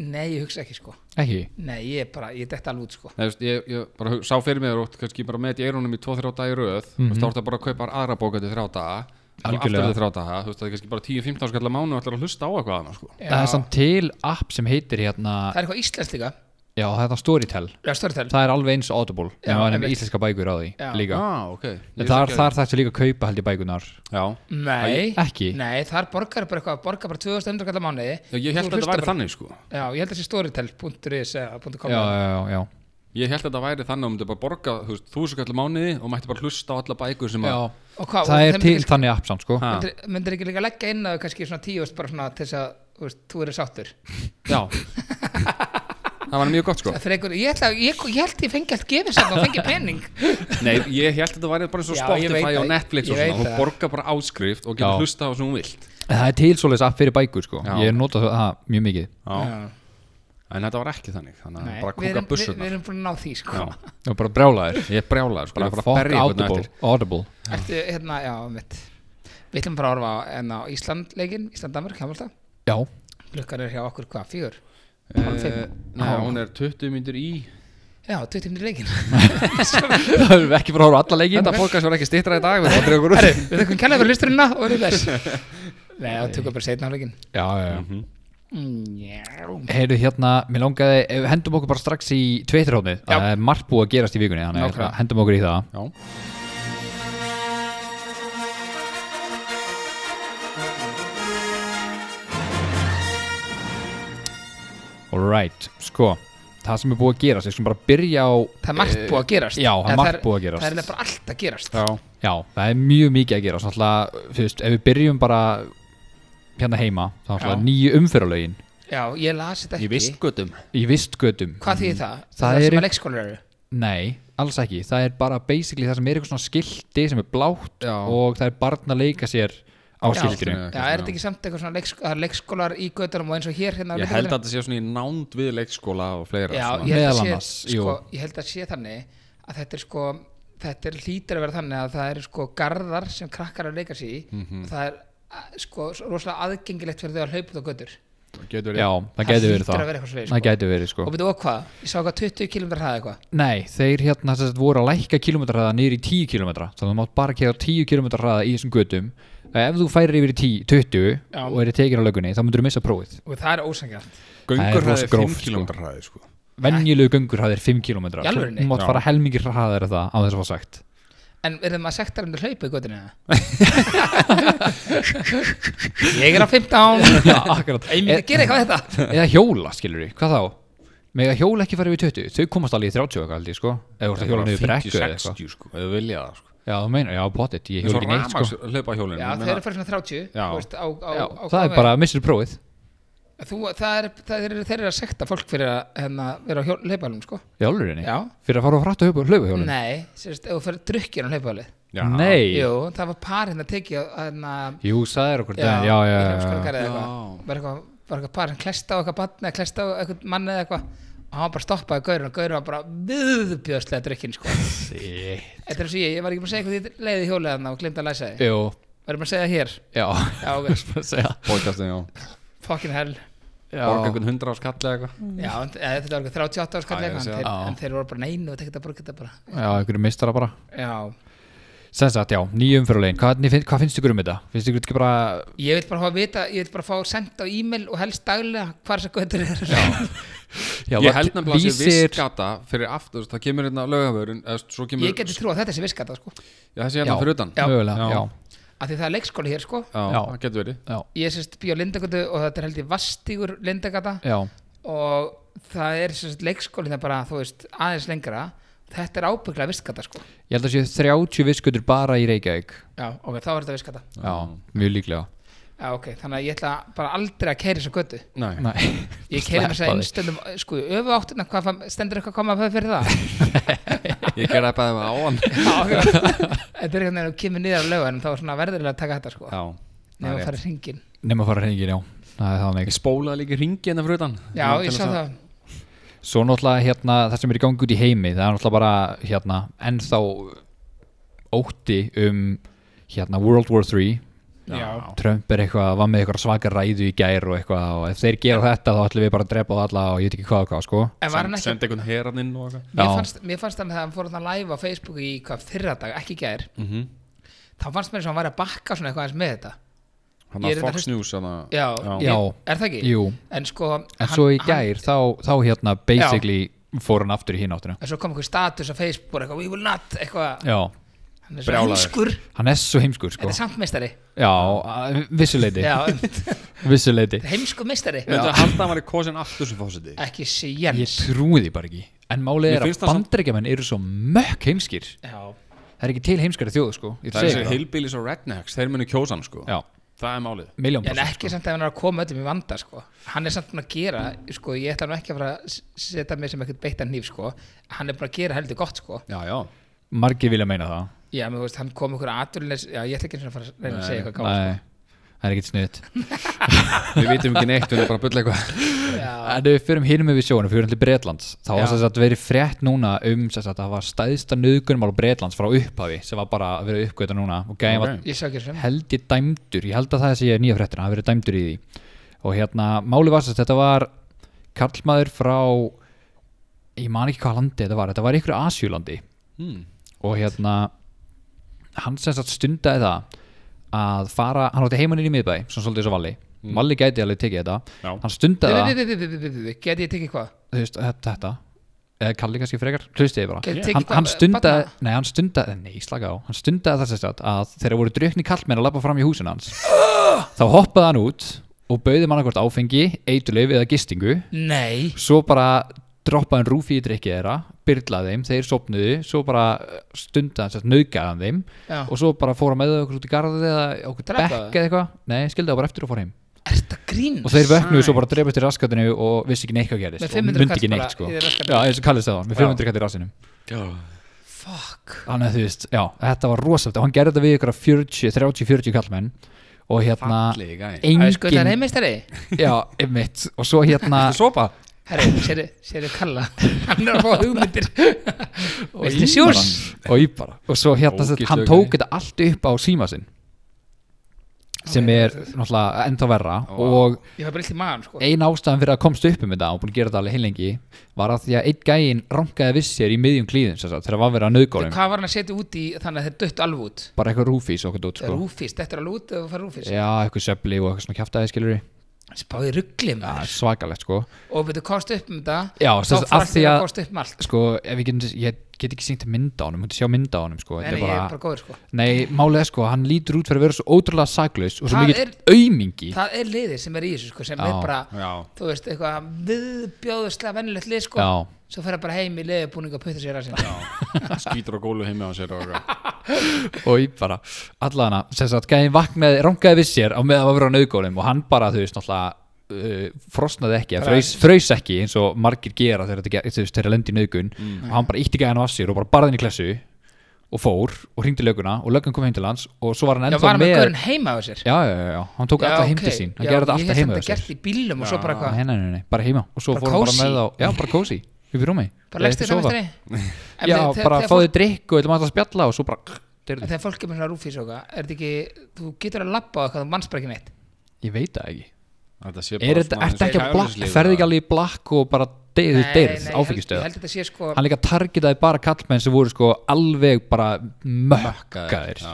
Speaker 2: Nei, ég hugsa ekki sko
Speaker 4: Ekki,
Speaker 2: Nei, ég er bara, ég dett alveg út sko
Speaker 3: Nei, veist, ég, ég bara hug- sá fyrir mig og kannski bara með þetta í eyrunum í 2-3 daga í röð mm -hmm. þá
Speaker 2: Mhm.
Speaker 3: ertu bara að kaupa aðra bóka til 3 daga og aftur
Speaker 4: Algjörlega.
Speaker 3: til 3 daga þú veist, það er kannski bara 10-15 skallar mánu og ætlar að hlusta á eitthvað annað sko.
Speaker 2: Já.
Speaker 4: það er samt til app sem heitir hérna
Speaker 2: Það er eitthvað íslenskt líka
Speaker 4: Já, það er það Storytel
Speaker 2: Já, Storytel
Speaker 4: Það er alveg eins Audible
Speaker 2: Já,
Speaker 4: En það er
Speaker 2: einmitt.
Speaker 4: með íslenska bækur á því
Speaker 2: Já.
Speaker 4: líka
Speaker 3: ah, ok Ég
Speaker 4: En þar,
Speaker 3: vissi ekki
Speaker 4: þar þarftu líka að kaupa held ég bækunar
Speaker 3: að- Já.
Speaker 2: Nei,
Speaker 4: Ekki?
Speaker 2: Nei, þar borgar bara eitthvað Borgar bara 2000 endur kallar mánuði
Speaker 3: Já, ég
Speaker 2: Þú
Speaker 3: held að þetta
Speaker 2: hlustar
Speaker 3: væri þannig sko
Speaker 2: bara- Já, ég held að þessi storytel.is eða
Speaker 4: Já,
Speaker 2: .com
Speaker 4: já, já, já.
Speaker 3: ég held að þetta væri þannig að þú myndir bara borga þú veist, 1000 skallar mánuði og mætti bara hlusta á alla bækur sem að
Speaker 2: Og hvað,
Speaker 4: Það
Speaker 2: og
Speaker 4: er
Speaker 2: þeim
Speaker 4: til þannig app samt sko
Speaker 3: Ha.
Speaker 2: myndir, myndir ekki líka leggja inn að kannski svona tíu veist, bara svona til þess að þú veist, þú eru sáttur
Speaker 3: Já. það var mjög gott sko
Speaker 2: Það fyrir einhver, ég held að ég, ég, held ég fengi allt gefið samt og fengi pening
Speaker 3: Nei, ég held að þetta væri bara eins og
Speaker 2: Já, ég veit
Speaker 3: Spotify og
Speaker 2: það.
Speaker 3: Netflix og
Speaker 2: Ég veit
Speaker 3: svona, þú
Speaker 2: það.
Speaker 3: borgar bara áskrift og getur
Speaker 4: Já.
Speaker 3: hlusta á sem hún vilt
Speaker 4: En Það er til svoleiðis app fyrir bækur sko
Speaker 3: Já.
Speaker 4: Ég nota það mjög mikið
Speaker 3: Já. En þetta var ekki þannig, þannig að
Speaker 2: Nei,
Speaker 3: Ah, bara
Speaker 2: við
Speaker 3: kúka
Speaker 2: erum- við,
Speaker 3: bussurnar
Speaker 2: við erum búin að ná því sko.
Speaker 3: Já.
Speaker 4: Það er bara brjálæður
Speaker 3: Ég er brjálaður, sko, ég er bara að
Speaker 4: Fuck
Speaker 3: berja einhvern
Speaker 4: Audible,
Speaker 3: eftir
Speaker 4: Audible.
Speaker 2: Ertu, hérna, já, mitt Við ætlum bara að orfa á, en á Ísland leikin Ísland-Danmark, hjá
Speaker 4: Já,
Speaker 2: Klukkan er hjá okkur hvað, fjögur? Hálf
Speaker 3: Eh,
Speaker 2: fimm?
Speaker 3: Nei, hún er 20 myndir í
Speaker 2: Já, 20 minnir leikin
Speaker 4: það erum við ekki fyrir að horfa á alla leikin
Speaker 3: Þetta podcast var ekki stittra í dag, við erum að drega okkur
Speaker 2: Herru, við þakkum kærlega fyrir hlusturina og erum þess Nei, það tökum bara setna á leikin
Speaker 4: Já, já, já
Speaker 3: Mhm.
Speaker 2: mm, Já,
Speaker 4: Heyrðu hérna, mér langaði, ef við hendum okkur bara strax í tveitirhóðnið
Speaker 2: Já.
Speaker 4: Það er margt búið að gerast í vikunni, þannig
Speaker 2: Nákvæmlega.
Speaker 4: að hendum okkur í það
Speaker 3: Já,
Speaker 4: Alright, sko, það sem er búið að gerast, ég skulum bara byrja á
Speaker 2: það er margt búið að gerast
Speaker 4: já, það er
Speaker 2: Eða
Speaker 4: margt búið að gerast.
Speaker 2: Það er nefnilega bara allt að gerast
Speaker 3: já,
Speaker 4: Já, það er mjög mikið að gerast, náttúrulega, þú veist, ef við byrjum bara hérna heima Það er
Speaker 2: Já.
Speaker 4: náttúrulega nýju umfyrralögin
Speaker 2: Já, ég las þetta ekki
Speaker 3: ég vist göttum
Speaker 4: í vistgötum
Speaker 2: Hvað þýðir það? er
Speaker 4: Það eru-
Speaker 2: sem að leikskólar eru
Speaker 4: Nei, alls ekki, það er bara basically það sem er eitthvað svona skilti sem er blátt
Speaker 3: Já.
Speaker 4: og það er barn að leika sér á
Speaker 2: Já.
Speaker 4: skiltinu
Speaker 2: Já,
Speaker 3: Eitthvað
Speaker 2: er
Speaker 3: svona.
Speaker 2: þetta ekki samt eitthvað svona leiksk það eru leikskólar í göttunum og eins og hér hérna á
Speaker 3: Ég
Speaker 2: Víkurvelli?
Speaker 3: held að þetta sé svona í nánd við leikskóla og fleira
Speaker 2: Já,
Speaker 3: svona.
Speaker 2: ég held,
Speaker 4: Meðal
Speaker 2: að
Speaker 4: annars,
Speaker 2: sé,
Speaker 4: jú.
Speaker 2: sko, ég held að sé þannig að þetta er sko þetta er hlýtur að vera þannig að það eru sko garðar sem krakkar eru að leika sér í og það er að- sko svo rosalega aðgengilegt fyrir þau að hlaupa út á götur
Speaker 3: Getur
Speaker 4: Já,
Speaker 2: Það
Speaker 4: það gæti verið
Speaker 2: hlýtur
Speaker 4: það
Speaker 2: að vera eitthvað svoleiðis,
Speaker 4: Það
Speaker 2: sko.
Speaker 4: gæti verið sko
Speaker 2: og byrju og hvað, ég sá hvað 20 km hraði eitthvað
Speaker 4: Nei, þeir hérna þess að voru að lækka kilometrahraða niður í 10 km þannig að þú mátt bara kera 10 km hraða í þessum götum ef þú færir yfir í 10, 20
Speaker 2: Já.
Speaker 4: og eru tekin á lögunni þá myndur þú missa prófið
Speaker 2: og það er ósangjart
Speaker 3: Göngur
Speaker 4: Það er rosa
Speaker 3: hraði 5
Speaker 4: gróft, sko.
Speaker 3: km hraði sko.
Speaker 4: venjulegu göngur hraðir 5 km
Speaker 2: Í alvörunni?
Speaker 4: þú
Speaker 3: Já.
Speaker 4: mátt fara helmingi hraðar en það á þess að fá sagt
Speaker 2: en verður maður sektar um að hlaupa í götinu eða? ég er á 15
Speaker 4: Já, akkurat
Speaker 2: ég myndi
Speaker 4: e
Speaker 2: gera eitthvað þetta
Speaker 4: Eða hjóla, skilur við, hvað þá? mega hjól ekki fara yfir 20 þau komast alveg í 30 eitthvað aldrei sko ef þú ert að hjóla niður brekku eða eitthvað
Speaker 3: 50-60 sko, ef við vilja það sko
Speaker 4: já, þú meinar, já, potið, ég
Speaker 3: Eins
Speaker 4: hjóla
Speaker 3: og
Speaker 4: ekki neitt sko
Speaker 3: ramaks hlaupa hjólinu
Speaker 2: Já, þeir eru fyrir svona 30
Speaker 3: Já.
Speaker 2: þú veist, á, á,
Speaker 4: já,
Speaker 2: á
Speaker 4: það
Speaker 2: hvaða
Speaker 4: er bara, missir prófið
Speaker 2: veg. Þú, það er, það er, Þeir eru að sekta fólk fyrir að hérna, vera á hjól- hlaupahjólum sko.
Speaker 4: í alvörinni,
Speaker 2: Já.
Speaker 4: fyrir að fara og frætt að hlaupa hjólinu
Speaker 2: Nei, sérst, ef þú fyrir drukkir á hlaupahjólið
Speaker 4: nei,
Speaker 2: Jú, það var par hérna tekið að hérna
Speaker 4: jú, það er okkur daginn já, já,
Speaker 2: í
Speaker 4: já, já,
Speaker 2: Hljómskálagarði eða eitthvað.
Speaker 3: Já.
Speaker 2: var eitthvað var eitthvað par sem klesta á eitthvað barn eða klesta á eitthvað mann eða eitthvað og hann var bara stoppaði gaurinn og gaurinn var bara viðbjöðslega drukkin sko
Speaker 4: Sí.
Speaker 2: Þetta er svo ég, ég var ekki búin að segja eitthvað því leiði hjólið hann og glemt að læsa því
Speaker 4: jú,
Speaker 2: Var ég búin að segja það hér?
Speaker 4: já
Speaker 2: Já, ok,
Speaker 4: Bara að segja.
Speaker 3: podcastin, já,
Speaker 2: fucking hell
Speaker 4: Já.
Speaker 3: borga einhvern hundra á skalla eitthvað
Speaker 2: Já, en, eða, þetta var eitthvað 38 ára
Speaker 3: Já, ég
Speaker 2: skallega en,
Speaker 3: sé
Speaker 2: þeir-
Speaker 4: það.
Speaker 2: en þeir voru bara neinu og tekið að borga þetta bara
Speaker 4: já, einhverju mistara bara
Speaker 2: Já,
Speaker 4: sem sagt, já, nýjum fyrirlegin, hvað, finn, hvað finnst ykkur um þetta? finnst ykkur þetta ekki bara
Speaker 2: ég vil bara fá að vita, ég vil bara fá sendt á e-mail og helst daglega hvar þessar göttur eru
Speaker 4: já,
Speaker 3: ég held nefnilega að sé
Speaker 4: Vísir-
Speaker 3: viss gata fyrir aftur, það kemur hérna lögavörun eða svo kemur,
Speaker 2: Ég geti trú að þetta sé viskata sko
Speaker 3: já, þessi
Speaker 4: já,
Speaker 3: hérna fyrir utan
Speaker 4: mögulega,
Speaker 3: Já.
Speaker 4: já,
Speaker 2: af því það er leikskóli hér sko
Speaker 3: Já,
Speaker 4: Já.
Speaker 3: það getur verið
Speaker 4: já,
Speaker 2: ég sérst býð á Lindagötu og þetta er held ég vastígur Lindagata
Speaker 4: já,
Speaker 2: og það er sérst leikskólinn er bara þú veist aðeins lengra þetta er ábygglega vistgata sko
Speaker 4: ég held að sé 30 viskutur bara í Reykjavík
Speaker 2: já ok þá er þetta vistgata
Speaker 4: já, mjög líklega
Speaker 2: já ok þannig að ég ætla bara aldrei að kæri þessa götu
Speaker 3: Nei.
Speaker 4: Nei.
Speaker 2: ég kæri með þess að
Speaker 4: Sleppa því.
Speaker 2: einstöndum sko í öfu áttuna hvað fann- stendur eitthvað að koma að fæða fyrir það
Speaker 3: ég gerði það bara á hann
Speaker 2: já ok þetta er eitthvað að kemur niður af lögunum þá er svona verðurlega að taka þetta sko
Speaker 3: já,
Speaker 2: nefnum að fara hringin
Speaker 4: nema að fara hringin, já það er þannig
Speaker 3: ég spólaði líka ringi hérna fyrir utan
Speaker 2: já ég sá það
Speaker 4: Svo náttúrulega hérna það sem er í gangi út í heimi það er náttúrulega bara hérna ennþá ótti um hérna World War 3
Speaker 2: já
Speaker 4: Trump er eitthvað, var með eitthvað svaka ræðu í gær og eitthvað og ef þeir gera þetta þá ætlum við bara að drepa á alla og ég veit ekki hvað og hvað sko
Speaker 2: en var hann ekki
Speaker 3: sendi einhvern heran inn og eitthvað
Speaker 2: Mér
Speaker 4: Já.
Speaker 2: fannst, mér fannst þannig að hann fór hann live á Facebook í hvað fyrra dag, ekki í gær
Speaker 3: Mhm.
Speaker 2: þá fannst mér sem hann væri að bakka svona eitthvað eins með þetta
Speaker 3: hann
Speaker 2: Ég er
Speaker 3: að
Speaker 2: þetta
Speaker 3: Fox
Speaker 2: hlust-
Speaker 3: News hana,
Speaker 2: Já,
Speaker 4: Já.
Speaker 2: Ég, er það ekki?
Speaker 4: Jú,
Speaker 2: En sko
Speaker 4: en svo í gær þá, þá hérna basically fór hann aftur í hinn áttuna
Speaker 2: En svo kom eitthvað status á Facebook bara eitthvað, we will not, eitthvað
Speaker 4: Já,
Speaker 2: Hann er svo
Speaker 3: Brjálaður. Sko.
Speaker 2: heimskur,
Speaker 4: hann er svo heimskur
Speaker 2: þetta
Speaker 4: sko
Speaker 2: er samt meistari
Speaker 4: Já, að- vissuleiti,
Speaker 2: Já, þetta
Speaker 4: vissuleiti
Speaker 2: er heimsku meistari
Speaker 3: Ég myndi að halda að hann var í kosin aftur sem fósiti
Speaker 2: Ekki
Speaker 4: Ég
Speaker 2: séns
Speaker 4: trúi því bara ekki En málið
Speaker 3: Mér
Speaker 4: er að
Speaker 3: finnst það samt-
Speaker 4: bandaríkjamenn eru svo mökk heimskir
Speaker 2: Já,
Speaker 4: Það er ekki til heimskari þjóðu sko Ég
Speaker 3: Það er
Speaker 4: segi
Speaker 3: þessi
Speaker 4: ykkur
Speaker 3: hillbillies og rednecks, þeir munu kjósa hann sko
Speaker 4: Já, sko.
Speaker 3: Það er málið
Speaker 4: miljón
Speaker 2: en
Speaker 4: prosent
Speaker 2: ekki samt að hann er að koma öllum í vanda sko. Hann er samt búin að gera, sko, ég ætla nú ekki að fara að s- setja mig sem eitthvað beittan hníf sko. Hann er búin að gera heldur gott sko.
Speaker 3: Já, já
Speaker 4: Margir vilja meina það
Speaker 2: Já, menn, þú veist, hann kom ykkur aðurleins Já, ég ætla ekki einu sinni að fara að reyna að segja eitthvað gáð
Speaker 4: Nei, það er ekkert sniðt
Speaker 3: Við vitum ekki neitt, við erum bara að bulla eitthvað
Speaker 2: Já,
Speaker 4: En ef við fyrir hinum yfir sjónum, fyrir hann til Bretlands Þá
Speaker 2: Já.
Speaker 4: var þess að verið frétt núna um þess að það var stæðsta nöðgunmál Bretlands frá upphafi sem var bara að vera uppgöta núna og gæði var
Speaker 3: Ok.
Speaker 2: ég sá ekki sem
Speaker 4: held ég dæmdur, ég held að það sé nýja fréttina, hann verið dæmdur í því og hérna, máli var sérst, þetta var karlmaður frá ég man ekki hvað landi þetta var, þetta var ykkur Asjúlandi
Speaker 3: hmm.
Speaker 4: og hérna hann sem sagt stundaði það að fara, hann átti heimann inn í miðbæ sem svolítið svo Valli, Valli gæti alveg tekið þetta
Speaker 3: Hmm. Já.
Speaker 4: hann stundaði það,
Speaker 2: Geti ég tekið hvað?
Speaker 4: þú veist, þetta- þetta eða Kalli kannski frekar, hlustiði bara
Speaker 2: Gæti tekið
Speaker 4: hann,
Speaker 2: bara-
Speaker 4: hann stundaði,
Speaker 2: barna?
Speaker 4: nei hann stundaði nei, slaka á, hann stundaði það sem sagt að þegar voru drukni kallmenn að labba fram í húsin hans þá hoppaði hann út og bauði manna hvort áfengi, eitulif eða gistingu,
Speaker 2: Nei
Speaker 4: svo bara droppaði hann rúfi í drikki þeirra byrlaði þeim, þeir sopnuðu, svo bara eh, stundaði, sem sagt, naukaði hann þeim
Speaker 2: Já.
Speaker 4: og svo bara fór hann með þau okkur út í garðið eða okkur
Speaker 2: Drepa
Speaker 4: bekk
Speaker 2: þau?
Speaker 4: eða eitthvað, nei, skildi það bara eftir og fór heim
Speaker 2: Er þetta grín?
Speaker 4: og þeir vöknuðu svo bara að drefast í raskatinu og vissi ekki neitt hvað gerist
Speaker 2: Með
Speaker 4: og
Speaker 2: 500
Speaker 4: mundi
Speaker 2: kall
Speaker 4: ekki
Speaker 2: bara
Speaker 4: neitt sko
Speaker 2: í raskatinu.
Speaker 4: já, eins og kallist það var, með 500 kallt í rassinum
Speaker 3: Já
Speaker 2: Fuck
Speaker 4: þannig að þú veist, já, þetta var rosalega og hann gerði þetta við ykkur 40, 30-40 kallmenn og hérna
Speaker 3: Fallegi gæi.
Speaker 2: Það er sko það er
Speaker 4: engin,
Speaker 2: heimistari
Speaker 4: já, einmitt og svo hérna
Speaker 3: Sopa
Speaker 2: Herri, sérðu, sérðu kalla Hann er að fá hugmyndir Viltu
Speaker 4: í
Speaker 2: sjós?
Speaker 4: bara, og í bara og svo hérna, sem sagt, hann
Speaker 3: Ógeðslega
Speaker 4: tók
Speaker 3: gæi.
Speaker 4: þetta allt upp á síma sinn sem er náttúrulega ennþá verra
Speaker 3: Vá.
Speaker 4: og
Speaker 2: Ég fæ bara illt í maðan sko
Speaker 4: ein ástæðan fyrir að komst upp um þetta og búin að gera þetta alveg heillengi var að því að einn gæinn rankaði viss sér í miðjum klíðum sem sagt, þegar var verið að
Speaker 2: Þegar
Speaker 4: nöðgólum
Speaker 2: Hvað var hann að setja út í þannig að þeir dött alveg út?
Speaker 4: bara eitthvað rúfís og eitthvað dót
Speaker 2: Sko.
Speaker 4: sko.
Speaker 2: Rúfist, þetta er alveg út ef þú fara rúfist
Speaker 4: já, eitthvað söfli og eitthvað svona kjaftaði skilur
Speaker 2: Spáði ruggli
Speaker 4: það
Speaker 2: maður
Speaker 4: er svakalegt sko
Speaker 2: Og betur komst upp um þetta
Speaker 4: Já,
Speaker 2: Þá
Speaker 4: sem sagt,
Speaker 2: fara
Speaker 4: af því
Speaker 2: þeir að
Speaker 4: að-
Speaker 2: komst upp með allt
Speaker 4: sko, ef við getum, ég get ekki sýnt mynda á honum, hún sjá mynda á honum sko.
Speaker 2: En
Speaker 4: Þetta
Speaker 2: ég er bara góður sko
Speaker 4: Nei, málið er sko, hann lítur út fyrir að vera svo ótrúlega saklaus og svo
Speaker 2: Það
Speaker 4: mikill
Speaker 2: er-
Speaker 4: aumingi
Speaker 2: Það er liðið sem er í þessu sko sem
Speaker 4: Já.
Speaker 2: er bara,
Speaker 3: Já.
Speaker 2: þú veist, eitthvað viðbjóðuslega vennilegt lið sko
Speaker 4: Já.
Speaker 2: Svo fer það bara heim í liðbúning og putta sér að sinna
Speaker 3: skýtur á gólu heimi á sér og eitthvað.
Speaker 4: og ég bara, allana sem sagt, gæðin vaknaði, rangaði við sér á meðan að vera á nöðgólum og hann bara, þú veist, náttúrulega uh, frosnaði ekki, eða fraus, fraus ekki eins og margir gera þegar þetta ge- þú veist, þegar lendi í nöðgun og hann bara ítti gæðin af sér og bara barðin í klessu og fór og hringdi í lögguna og löggan kom heim til hans og svo var hann
Speaker 2: Já,
Speaker 4: ennþá
Speaker 2: var með
Speaker 4: með
Speaker 2: gaurinn heima á sér
Speaker 4: já, já, já, já, hann tók alltaf heim til sín hann gerði þetta
Speaker 2: ég held
Speaker 4: alltaf heima
Speaker 2: þetta
Speaker 4: hjá sér hérna,
Speaker 2: gert í bílum og svo bara
Speaker 4: Nei,
Speaker 2: hvað
Speaker 4: nei, nei, nei, bara heima og svo
Speaker 2: Bara
Speaker 4: fór hann bara
Speaker 2: kósí.
Speaker 4: með þá já, bara kósi, upp í rúmi
Speaker 2: Bara leggst þér
Speaker 4: Sofa.
Speaker 2: samistri
Speaker 4: já, bara fáðu drikk og eitthvað maður að spjalla og svo bara
Speaker 2: En
Speaker 4: deyrðu.
Speaker 2: þegar fólk er með svona rúfís og eitthvað, er þetta ekki, þú getur að labba á eitthvað, þú manns bara ekki neitt.
Speaker 4: ég veit það ekki
Speaker 3: Þetta sé bara
Speaker 4: er þetta
Speaker 3: svona eins
Speaker 4: ertu ekki
Speaker 3: og
Speaker 4: að blakk,
Speaker 3: kæruleysisliðið
Speaker 4: ferði
Speaker 3: að-
Speaker 4: ekki alveg í blakk og bara deyrð,
Speaker 2: ég
Speaker 4: deyrð,
Speaker 2: held- Ég
Speaker 4: áfengistöð
Speaker 2: held að þetta sé sko,
Speaker 4: hann líka targetaði bara kallmenn sem voru sko alveg bara mökkaðir
Speaker 3: Já.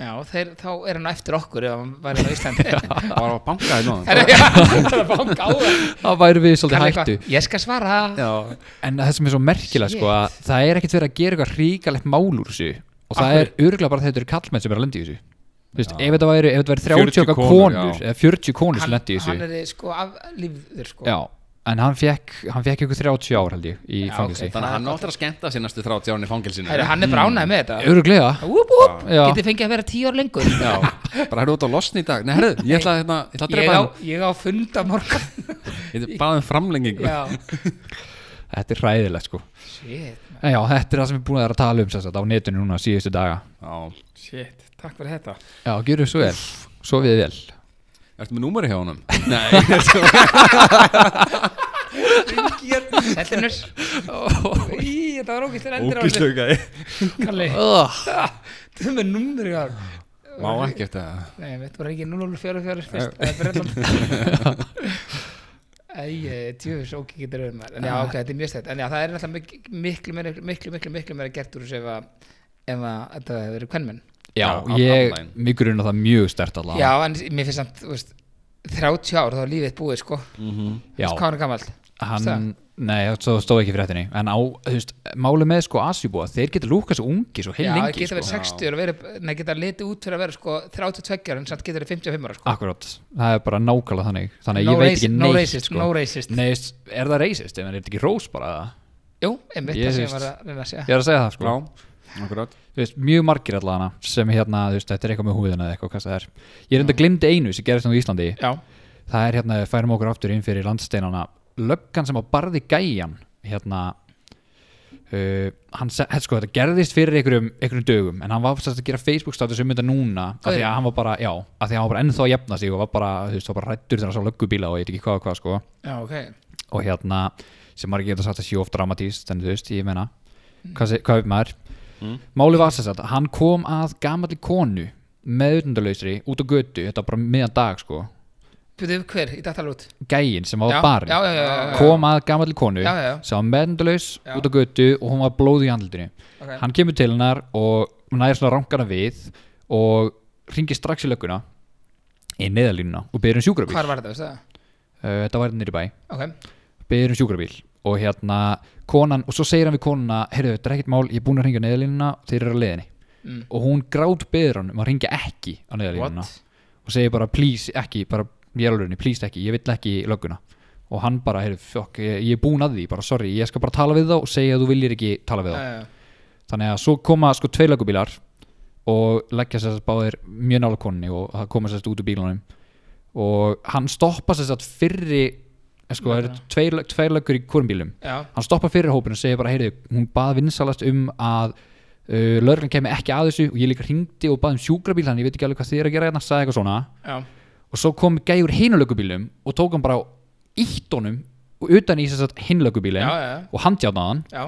Speaker 2: já, þeir, þá er hann á eftir okkur ef hann væri á Íslandi.
Speaker 3: bara að banka þér núna
Speaker 2: Herra, já, það er bara gáður.
Speaker 4: það væri við svolítið
Speaker 2: Kalli
Speaker 4: hættu
Speaker 2: eitthvað, Ég skal svara.
Speaker 4: Já. en það sem er svo merkilega sko
Speaker 2: Shit.
Speaker 4: að það er ekkert verið að gera eitthvað ríkalegt mál úr þessu og það er örgulega bara þetta eru kallmenn sem er að lendi í þessu Þú veist, ef þetta væri, ef þetta væri 30
Speaker 3: 40
Speaker 4: okkar
Speaker 3: konur,
Speaker 4: konur,
Speaker 3: já.
Speaker 4: eða 40 konur sem
Speaker 2: Hann,
Speaker 4: lendi í þessu
Speaker 2: hann er sko aflífður sko.
Speaker 4: já, en hann fekk hann fekk ykkur 30 ár held ég í
Speaker 2: Já,
Speaker 4: fangilsi
Speaker 2: ok.
Speaker 4: okay.
Speaker 3: þannig að hann áttur að skemmta sér næstu 30 árin í fangilsinu
Speaker 2: Herra, hann er bara ánægð með þetta.
Speaker 4: örgulega
Speaker 2: Úp, úp,
Speaker 4: Já.
Speaker 2: getið fengið að vera tíu ár lengur.
Speaker 3: Já, bara herru út á losn í dag Nei, herru, ég ætla, hérna, ég ætla
Speaker 2: Ég
Speaker 3: að drepa
Speaker 2: á,
Speaker 3: hann
Speaker 2: ég á funda morgun.
Speaker 3: Ég ætla bara um framlengingu
Speaker 2: já,
Speaker 4: þetta er hræðilegt sko
Speaker 2: shit, man.
Speaker 4: en já, þetta er það sem við búin að vera að tala um sem sagt, á netinu núna síðustu daga
Speaker 3: Já.
Speaker 2: shit, takk fyrir þetta.
Speaker 4: já, gjörum svo vel, svo við vel
Speaker 3: Ertu með númeri hjá honum?
Speaker 2: Sellinus. Í, þetta var ógæstur endur á þessu.
Speaker 3: Ógíslaugaði
Speaker 2: Kalli,
Speaker 4: oh.
Speaker 2: þú er með numur í ár.
Speaker 3: Má ekki eftir það
Speaker 2: Nei, þetta var ekki 044 fyrst, það er Breitland Æ, djöfis, ókei getur verið maður En já,
Speaker 4: Ah.
Speaker 2: ok, þetta er mjög stætt En já, það er alltaf miklu, miklu, meira- miklu, miklu, miklu meira gert úr þessu ef að ef að þetta hefur verið kvennmenn
Speaker 4: já,
Speaker 3: Já, á-
Speaker 4: ég,
Speaker 3: online.
Speaker 4: mig grunna það mjög stert allavega
Speaker 2: Já, en mér finnst samt, þú veist 30 ár, þá er lífið búið, sko Þú
Speaker 4: Mm. Já.
Speaker 2: veist, Hvað hann er gamall?
Speaker 4: hann, nei, það stóð ekki í fréttinni en á, þú veist, máli með sko Asjúbúa, þeir geta lúkað svo ungi svo heil
Speaker 2: Já, það
Speaker 4: lengi
Speaker 2: geta
Speaker 4: sko.
Speaker 2: verið 60 og verið, nei, geta litið út fyrir að vera, sko 32 ára, en samt geta verið 55 ára, sko
Speaker 4: akkurat, það er bara nákvæmlega þannig þannig að
Speaker 2: No
Speaker 4: ég veit
Speaker 2: racist-
Speaker 4: ekki
Speaker 2: no
Speaker 4: neitt
Speaker 2: racist,
Speaker 4: sko.
Speaker 2: no racist.
Speaker 4: Nei, s- er það racist, ef hann er þetta ekki rós bara það?
Speaker 2: Jú, einmitt,
Speaker 4: Ég
Speaker 2: það sem
Speaker 4: veist.
Speaker 2: ég var að reyna að segja
Speaker 4: ég er að segja það sko
Speaker 3: Já, akkurat
Speaker 4: Þú veist, mjög margir allavega sem hérna, þú veist, þetta er eitthvað með húðina eða eitthvað hvað það er ég er enda glimdi einu sem gerist nú í Íslandi
Speaker 2: Já,
Speaker 4: það er hérna, við færum okkur aftur inn fyrir landsteinana löggan sem á barði gæjan hérna uh, hann, se- þetta sko, þetta gerðist fyrir einhverjum, einhverjum dögum, en hann var sérst að gera Facebook status um þetta núna, af því að
Speaker 2: Gaurinn?
Speaker 4: hann var bara já, af því að hann var bara ennþá að jafna sig og var bara, þú veist, var bara rættur þegar hann sá löggubíla og ég veit ekki hvað og hvað, sko
Speaker 2: já, ok
Speaker 4: og hérna, sem maður geta sagt að sé of dramatíst, en þú veist, ég meina hvað, se- hvað er maður máli var sérst að hann kom að gamalli konu með utandarlausri út á götu, þetta var bara miðan dag, sko
Speaker 2: Byrðu, hver, í datalút?
Speaker 4: gæin sem var
Speaker 2: Já,
Speaker 4: á barinn
Speaker 2: já, já, já, já, já.
Speaker 4: kom að gamalli konu
Speaker 2: Já, já, já.
Speaker 4: sem var meðendalaus
Speaker 2: Já.
Speaker 4: út á götu og hún var blóð í andlutinu
Speaker 2: Ok.
Speaker 4: hann kemur til hennar og hún næðir svona rankana við og ringir strax í lögguna í neðalínuna og byrður um sjúkrabíl
Speaker 2: Hvar var þetta, veistu það?
Speaker 4: uh, þetta var nýri bæ,
Speaker 2: Ok,
Speaker 4: byrður um sjúkrabíl og hérna konan, og svo segir hann við konuna heyrðu, þetta er ekkert mál, ég er búin að ringja neðalínuna þeir eru á leiðinni
Speaker 2: Mm.
Speaker 4: og hún grátt byrður hann um að ringja ekki á neðalínuna
Speaker 2: What?
Speaker 4: og segir bara please ekki, bara ég er alveg please ekki, ég vill ekki lögguna og hann bara, heyrðu, fokk, ég, ég er búin að því bara sorry, ég skal bara tala við þá og segja að þú viljir ekki tala við þá,
Speaker 2: já, já.
Speaker 4: þannig að svo koma sko tvei löggubílar og leggja sér þess báðir mjög nála konni og það koma sér þess út úr bílunum og hann stoppa sér þess fyrri eh, sko, það eru tveir, lög- tveir löggur í hvorum bílum
Speaker 2: Já,
Speaker 4: hann stoppar fyrir hópinu og segir bara heyrðu, hún bað vinsalast um að uh, lögreglan kemur ekki að þessu og ég líka hringdi og bað um sjúkrabíl þannig ég veit ekki alveg hvað þið er að gera hérna, sagði eitthvað svona
Speaker 2: já,
Speaker 4: og svo kom gæjur hinulökubílum og tók hann bara á ítt og utan í þess að hinulökubílin
Speaker 2: Já, já, já.
Speaker 4: og handjánaðan
Speaker 2: já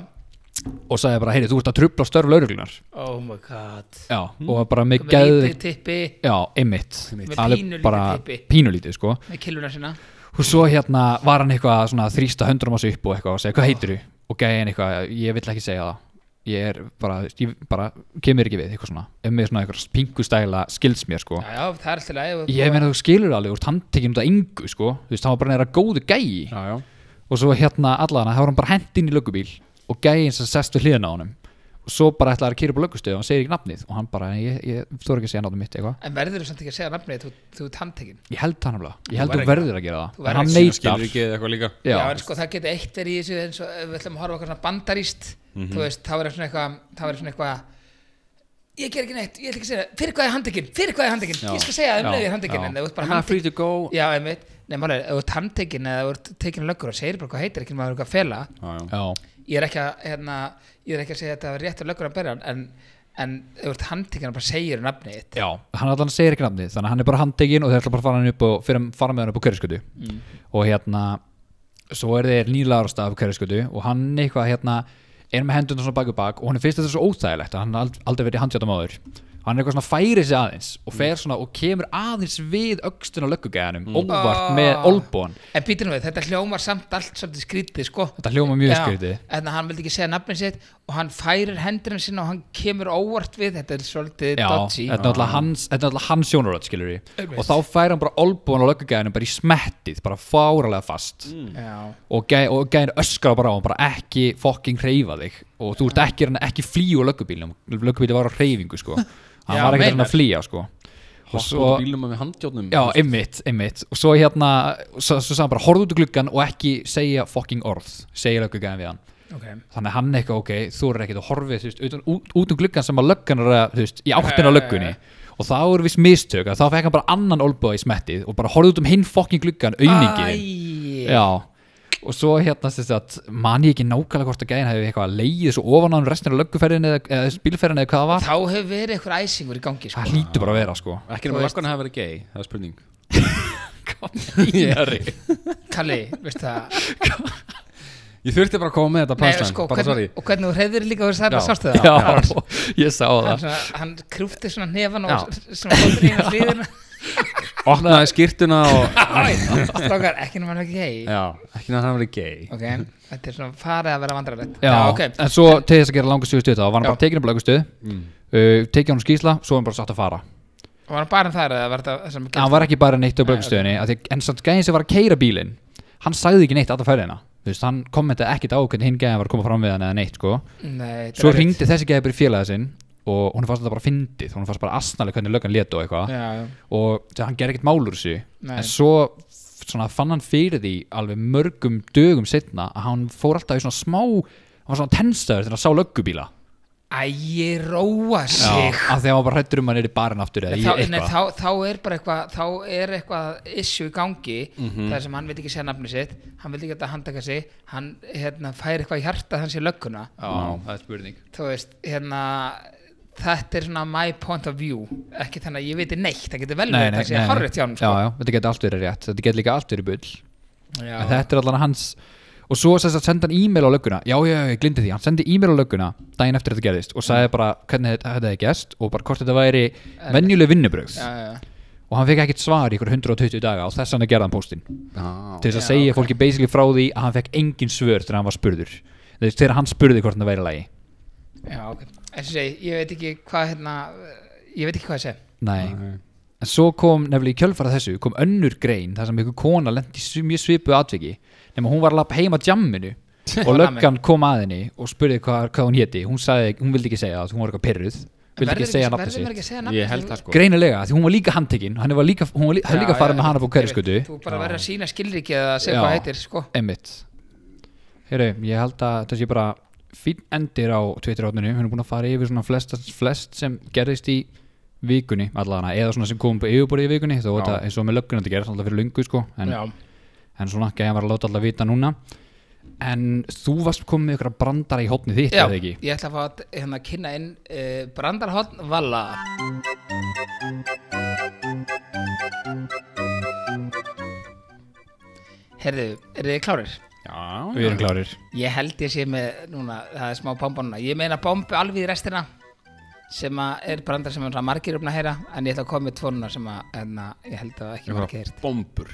Speaker 4: og sagði bara, heyri, þú ert að trubla störf lauruglunar
Speaker 2: Oh my god
Speaker 4: já, og var bara með
Speaker 2: Hm? Með
Speaker 4: gæð
Speaker 2: lítið tippi
Speaker 4: já, einmitt,
Speaker 2: Með
Speaker 4: Alveg
Speaker 2: pínulítið
Speaker 4: bara
Speaker 2: tippi.
Speaker 4: pínulítið sko
Speaker 2: með killuna sína
Speaker 4: og svo hérna var hann eitthvað svona að þrýsta höndrum á sig upp og eitthvað og segja, hvað heitir þú? og gæðin eitthvað, ég vill ekki segja það ég er bara, ég bara kemur ekki við, eitthvað svona, um mig svona eitthvað pingustæla skilds mér sko
Speaker 2: Já, já, það er alltaf leið
Speaker 4: ég meina þú skilur alveg, þú ert handtekinn út af engu sko, þú veist, hann var bara neira góðu gæi
Speaker 3: Já, já
Speaker 4: og svo hérna allana, þá var hann bara hent inn í löggubíl og gæi eins og sest við hliðina á honum svo bara ætlaði að kýra upp á lögustöðu og hann segir ekki nafnið og hann bara, ég, ég stór ekki að segja nafnið mitt eitthvað
Speaker 2: En verður þú samt ekki að segja nafnið þú, þú ert handtekinn?
Speaker 4: ég held það nefnilega, ég held
Speaker 3: verður
Speaker 4: þú verður að gera
Speaker 2: Þú
Speaker 4: það en
Speaker 2: verður
Speaker 4: hann
Speaker 2: ekki-
Speaker 4: neytar
Speaker 3: skilur ekki eða eitthvað líka
Speaker 2: Já,
Speaker 4: já,
Speaker 2: en sko það geti eitt verið í þessu eins og ef við ætlum að horfa á eitthvað svona bandaríst
Speaker 4: Mhm.
Speaker 2: þú veist, þá verður svona eitthvað þá verður svona eitthvað ég ger ekki neitt, ég ætla ekki að segja það fyrir hvað er handtekinn, fyrir hvað er handtekinn ég skal segja það um
Speaker 4: Já,
Speaker 2: leiðið handtekinn
Speaker 4: já.
Speaker 2: en það er bara
Speaker 3: I'm not free
Speaker 2: handtekinn
Speaker 3: to go
Speaker 2: Já, einmitt, nei málega, ef þú ert handtekinn eða ef þú ert tekinn löggur og segir bara hvað heitir ekki maður eitthvað að fela
Speaker 3: Já, já.
Speaker 4: já,
Speaker 2: ég er ekki að, hérna, ég er ekki að segja þetta var réttur löggur að berja en, en ef þú ert handtekinn og bara segir nafnið þitt
Speaker 4: já, hann allan segir ekki nafnið þannig að hann er bara handtekinn og þeir ætla bara að fara, hann upp og, fyrir, fara með hann upp á kverjaskötu og hérna, svo er þeir nýlaður á stað af kverjaskötu og hann eitthvað hérna, er með hendunar svona bak og bak og hann finnst þetta svo óþægilegt að hann ald- aldrei verið handjáta maður hann er eitthvað svona færi sig aðeins og fer svona og kemur aðeins við öxtun á löggugæðanum, óvart
Speaker 2: Ah.
Speaker 4: með olbón
Speaker 2: En býtum við, þetta hljómar samt allt svolítið skrítið, sko.
Speaker 4: Þetta hljómar mjög skrítið.
Speaker 2: En hann vildi ekki segja nafnið sitt og hann færir hendurinn sinna og hann kemur óvart við, þetta er svolítið
Speaker 4: Já,
Speaker 2: dodgy.
Speaker 4: þetta er náttúrulega hans, þetta er náttúrulega hans sjónuröld skilur
Speaker 2: Einmitt.
Speaker 4: við og þá fær hann bara olbúan á löggagæðinu bara í smettið, bara fáralega fast
Speaker 2: Já,
Speaker 4: og, gæ, og gæðin öskar bara á hann bara ekki fokking reyfa þig og þú ert ekki, ekki flýju á löggubílnum löggubíli var á reyfingu sko hann
Speaker 2: Já,
Speaker 4: var ekki
Speaker 2: meinar.
Speaker 4: að flýja sko og
Speaker 3: Hopp
Speaker 4: svo,
Speaker 3: út bílum með handjórnum
Speaker 4: já, einmitt, einmitt og svo hérna, svo, svo sagði hann bara horfðu út í gluggan og ekki segja fokking orð segja löggagæðin við hann
Speaker 2: ok.
Speaker 4: þannig að hann eitthvað ok, þú er ekkert að horfið þú veist, utan, út, út um gluggan sem að löggan er að, þú veist, í áttina að
Speaker 2: Eh.
Speaker 4: löggunni og þá eru viss mistök að þá fekk hann bara annan olbúa í smettið og bara horfið út um hinn fokking gluggan, auðningin
Speaker 2: Æ,
Speaker 4: já, og svo hérna sérst að man ég ekki nákvæmlega hvort að gæðin hefði eitthvað leiðið svo ofan á hann restina af lögguferðin eða, eða bílferðin eða hvað það var
Speaker 2: þá hefur verið einhver æsingur í gangi, sko.
Speaker 4: það hlýtur bara að vera sko
Speaker 3: Ekki
Speaker 2: Þú
Speaker 3: nema
Speaker 2: veist-
Speaker 3: lakkarna hafa verið gay, það er spurning
Speaker 4: Meinari.
Speaker 2: Kalli, veist það.
Speaker 3: Ég þurfti bara að koma með þetta
Speaker 2: Nei,
Speaker 3: punchline,
Speaker 2: sko,
Speaker 3: bara sorry
Speaker 2: hvernig, og hvernig þú reyður líka, veist það,
Speaker 3: Já.
Speaker 2: bara sástu það.
Speaker 4: já, ég sá
Speaker 2: Hann,
Speaker 4: það
Speaker 2: svona, hann krúfti svona nefan
Speaker 4: Já.
Speaker 2: og svona hóttur í hann hlýðina.
Speaker 3: Opnaði skýrtuna og
Speaker 2: Strákar, ekki nema hann ekki hei.
Speaker 3: Já, ekki nefnir að hafa verið gay
Speaker 2: Ok, þetta er svona farið að vera vandrarlegt.
Speaker 4: Já,
Speaker 2: ok.
Speaker 4: en svo til þess að gera langa sögustuð þá var hann
Speaker 2: Já.
Speaker 4: bara tekinn upp lögustuð mm. uh, tekið hann skýsla, svo var hann bara satt að fara
Speaker 2: Var hann bara um það eða var þetta það sem gerðist?
Speaker 4: Nei, hann var ekki bara neitt á blöggstöðinni okay. en samt gæðin sem var að keira bílinn hann sagði ekki neitt alltaf ferðina Þú veist, hann kommentaði ekkert á hvernig hinn gæðin var að koma fram við hann eða neitt sko.
Speaker 2: Nei, þetta
Speaker 4: svo
Speaker 2: er erfitt.
Speaker 4: ringdi þessi gæði bara í félaga sinn og hún fannst þetta bara fyndið hún fannst bara asnalega hvernig löggan lét og eitthvað
Speaker 2: Já, já.
Speaker 4: og þegar hann gerði ekkert mál úr þessu
Speaker 2: Nei.
Speaker 4: en svo svona, fann hann fyrir því alveg mörgum dögum setna að hann fór alltaf í svona smá hann var svona tenstaður þegar hann sá löggubíla
Speaker 2: Æi, róa sig
Speaker 4: af því að hann var bara hrættur um að hann er í barinn aftur eða
Speaker 2: En
Speaker 4: í
Speaker 2: þá, nei,
Speaker 4: eitthvað
Speaker 2: þá, þá er bara eitthvað þá er eitthvað issue í gangi
Speaker 4: Mhm.
Speaker 2: þar sem hann vil ekki segja nafni sitt hann vil ekki að þetta handtaka sig hann hérna, fær eitthvað í hjarta hans í lögguna
Speaker 4: Já, það er spurning
Speaker 2: þú veist, hérna þetta er svona my point of view ekki þannig að ég veit neitt, það getur vel
Speaker 4: nei,
Speaker 2: verið
Speaker 4: nei,
Speaker 2: það sé
Speaker 4: nei, nei.
Speaker 2: horrið hjá hann
Speaker 4: já,
Speaker 2: sko.
Speaker 4: já, þetta getur allt verið rétt, þetta getur líka allt verið bull
Speaker 2: Já.
Speaker 4: en þetta er allan hans og svo sem sagt sendi hann e-mail á lögguna já, já, já, ég glindi því, hann sendi e-mail á lögguna daginn eftir þetta gerðist og sagði bara hvernig þetta þetta hefði gerst og bara hvort þetta væri venjuleg vinnubrögð
Speaker 2: Já, já, já.
Speaker 4: og hann fekk ekkert svar í ykkur 120 daga og þess vegna gerði hann póstinn
Speaker 3: Já,
Speaker 4: til þess
Speaker 2: Já,
Speaker 4: að segja fólki basically frá því að hann fekk engin svör þegar hann var spurður Þú veist, þegar hann spurði hvort þetta væri í lagi
Speaker 2: já, ok eins og segi, ég veit ekki hvað hérna ég veit ekki hvað að segja
Speaker 4: Nei. En svo kom nefnilega í kjölfara þessu kom önnur grein þar sem einhver kona lendi mjög svipu atviki nema hún var að lappa heima djamminu og
Speaker 2: Var
Speaker 4: löggan kom að henni og spurði hvað, hvað hún héti hún, sagði, hún vildi ekki segja það, hún var eitthvað pyrruð vildi
Speaker 2: Verður
Speaker 4: ekki segja
Speaker 2: verður
Speaker 4: nafnið
Speaker 2: maður
Speaker 4: sitt
Speaker 2: ekki að segja nafnið
Speaker 3: Ég held það sko
Speaker 4: greinilega, því hún var líka handtekinn hann var líka, hún var líka, já, líka farið með hana á hverjaskötu
Speaker 2: Þú bara verður að sína skilriki eða segja
Speaker 4: Já.
Speaker 2: hvað heitir sko.
Speaker 4: einmitt Heyru, ég held að þetta sé bara fín endir á Twitter-átninu hún er búin að fara yfir svona flest, flest sem gerðist í vikunni allana, eða svona sem kom upp á yfirborðið í vikunni þó þetta eins og með löggunum þetta gerðist alltaf fyrir lungu sko, en,
Speaker 2: Já.
Speaker 4: en svona gæði var að láta alltaf vita núna en þú varst komið með ykkur að brandara í hópni þitt
Speaker 2: Já,
Speaker 4: eða ekki
Speaker 2: ég ætla að fá að hérna, kynna inn uh, Brandarhótt Valla Herðu, eru þið klárir?
Speaker 3: Já,
Speaker 4: við erum klárir
Speaker 2: Ég held ég sé með núna, það er smá bombanuna Ég meina bombu alveg í restina sem að er brandar sem er margir um að heyra en ég ætla að koma með tvo núna sem að hérna, ég held að ekki margir heyrt
Speaker 3: bombur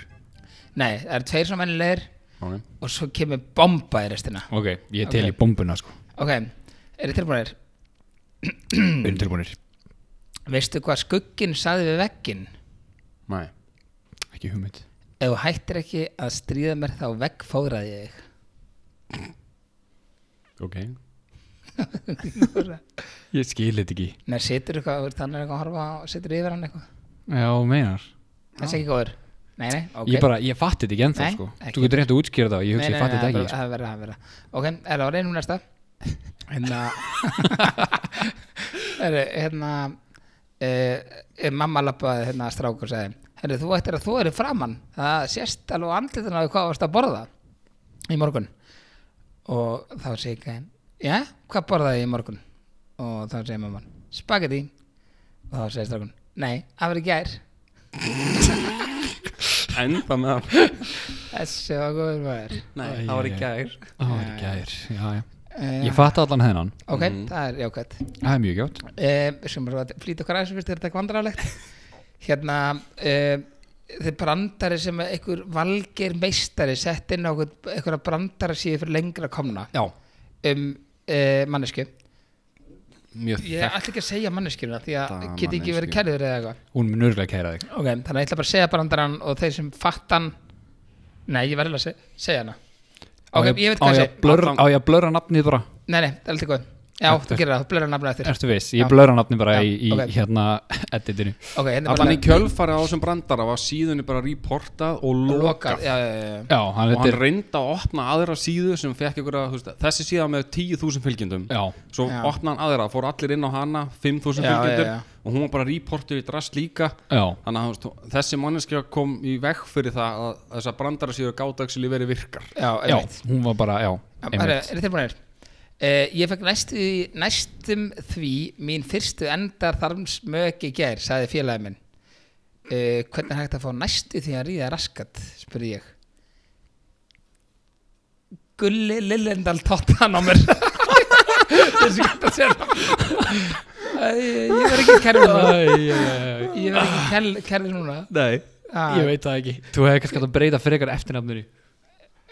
Speaker 2: Nei, það eru tveir svona mennilegir
Speaker 3: okay.
Speaker 2: og svo kemur bomba í restina
Speaker 4: ok, ég er til
Speaker 2: Ok.
Speaker 4: í bombuna sko,
Speaker 2: Ok, eru tilbúinir?
Speaker 3: Mm.
Speaker 4: við erum tilbúinir
Speaker 2: Veistu hvað skugginn saði við vegginn?
Speaker 3: Nei
Speaker 4: ekki hugmynd
Speaker 2: Ef þú hættir ekki að stríða mér þá veggfóðraði ég þig.
Speaker 3: Ok
Speaker 4: Ég skil þetta ekki
Speaker 2: Nei, situr eitthvað, þú veist, hann er eitthvað að horfa á- situr yfir hann eitthvað
Speaker 4: Já, meinar
Speaker 2: Þessi ekki góður Nei, nei, ok
Speaker 4: Ég bara, ég fatti þetta ekki ennþá
Speaker 2: Nei,
Speaker 4: sko
Speaker 2: ekki.
Speaker 4: Þú getur reynt að útskýra það og ég
Speaker 2: Nei,
Speaker 4: hugsa
Speaker 2: nei,
Speaker 4: ég fatti
Speaker 2: nei,
Speaker 4: þetta
Speaker 2: bara-
Speaker 4: ekki
Speaker 2: Það verður, það verður Ok, er það reynum næsta Hérna Herru, hérna uh, Mamma lappaði hérna að strák og sagði Herru, þú ættir að þú eru framann Það sést alveg andlitun á því hvað varst að borða Í morgun Og þá segi ekki Já, hvað borðaði ég í morgun Og þá segi mamman, spagetti Og þá segi strákun, nei, það verður gær
Speaker 3: Enda með það
Speaker 2: Þessi var góður maður
Speaker 3: Nei,
Speaker 4: Æ,
Speaker 3: það var í
Speaker 4: æ, æ.
Speaker 3: gær
Speaker 4: Það var ekki gær Já, já
Speaker 2: Eh,
Speaker 4: Ég Mm. fatti allan hennan
Speaker 2: Ok, það er jákvæmt
Speaker 4: Það er mjög gjátt
Speaker 2: Eh, við sem bara flýta okkar aðeins fyrst er þetta ekki vandrarlegt hérna uh, þeir brandari sem einhver valger meistari sett inn á einhver- einhverja brandara síðu fyrir lengra komna
Speaker 4: Já
Speaker 2: um uh, mannesku
Speaker 3: Mjög
Speaker 2: ég
Speaker 3: þekkt
Speaker 2: ætla ekki að segja manneskjuna því að
Speaker 3: Þetta
Speaker 2: geti ekki verið
Speaker 3: manneskju.
Speaker 2: kærður eða eitthvað
Speaker 4: Hún mun örgulega kæra þig
Speaker 2: ok, þannig að ég ætla bara að segja brandaran og þeir sem fatt hann nei, ég verður að se segja hana ok, ég veit hvað
Speaker 4: ég
Speaker 2: ég
Speaker 4: að blurra- Á ég að blöra nafnið bara
Speaker 2: segi nei, nei, það er alltaf góð já, þú gerir það, þú blöður nafna eftir
Speaker 4: Ertu viss, ég blöra nafnið bara
Speaker 2: Já,
Speaker 4: í, í
Speaker 2: ok.
Speaker 4: hérna editinu
Speaker 2: ok, hérna er
Speaker 3: Allan
Speaker 2: bara
Speaker 3: í kjölfari á þessum brandara var síðunni bara reportað og lokað
Speaker 2: lokað já, já, já, já.
Speaker 4: Já, hann
Speaker 3: og hann
Speaker 4: þetta er
Speaker 3: reyndi að opna aðra síðu sem fekk ykkur að, þú veist, þessi síða með 10.000 fylgjendum
Speaker 4: Já,
Speaker 3: svo
Speaker 2: Já.
Speaker 3: opna hann aðra, fór allir inn á hana 5.000
Speaker 2: Já,
Speaker 3: fylgjendur
Speaker 2: já, já.
Speaker 3: og hún var bara reportið í drast líka
Speaker 4: já
Speaker 3: þannig að þú veist, þessi manneskja kom í veg fyrir það að þessar brandara síður gátaksili verið virkar
Speaker 2: já,
Speaker 4: Já,
Speaker 2: einmitt.
Speaker 4: hún var bara, já
Speaker 2: Er,
Speaker 4: einmitt.
Speaker 2: er þið tilbúinir? Uh, ég fekk næstu, næstum því mín fyrstu endar þarms mög í gær, sagði félagi minn. Uh, hvernig er hægt að fá næstu því að ríða raskat, spurði ég. Gulli Lillendal tottan á mér. Þessu gætt að sér. Ég ég verð ekki kærður núna.
Speaker 4: Æ, æ, æ, æ.
Speaker 2: Ég verð ekki kærður kærð núna.
Speaker 4: Nei,
Speaker 2: Ah.
Speaker 4: ég veit það ekki Þú hefði kannski átt að breyta frekar eftirnafninu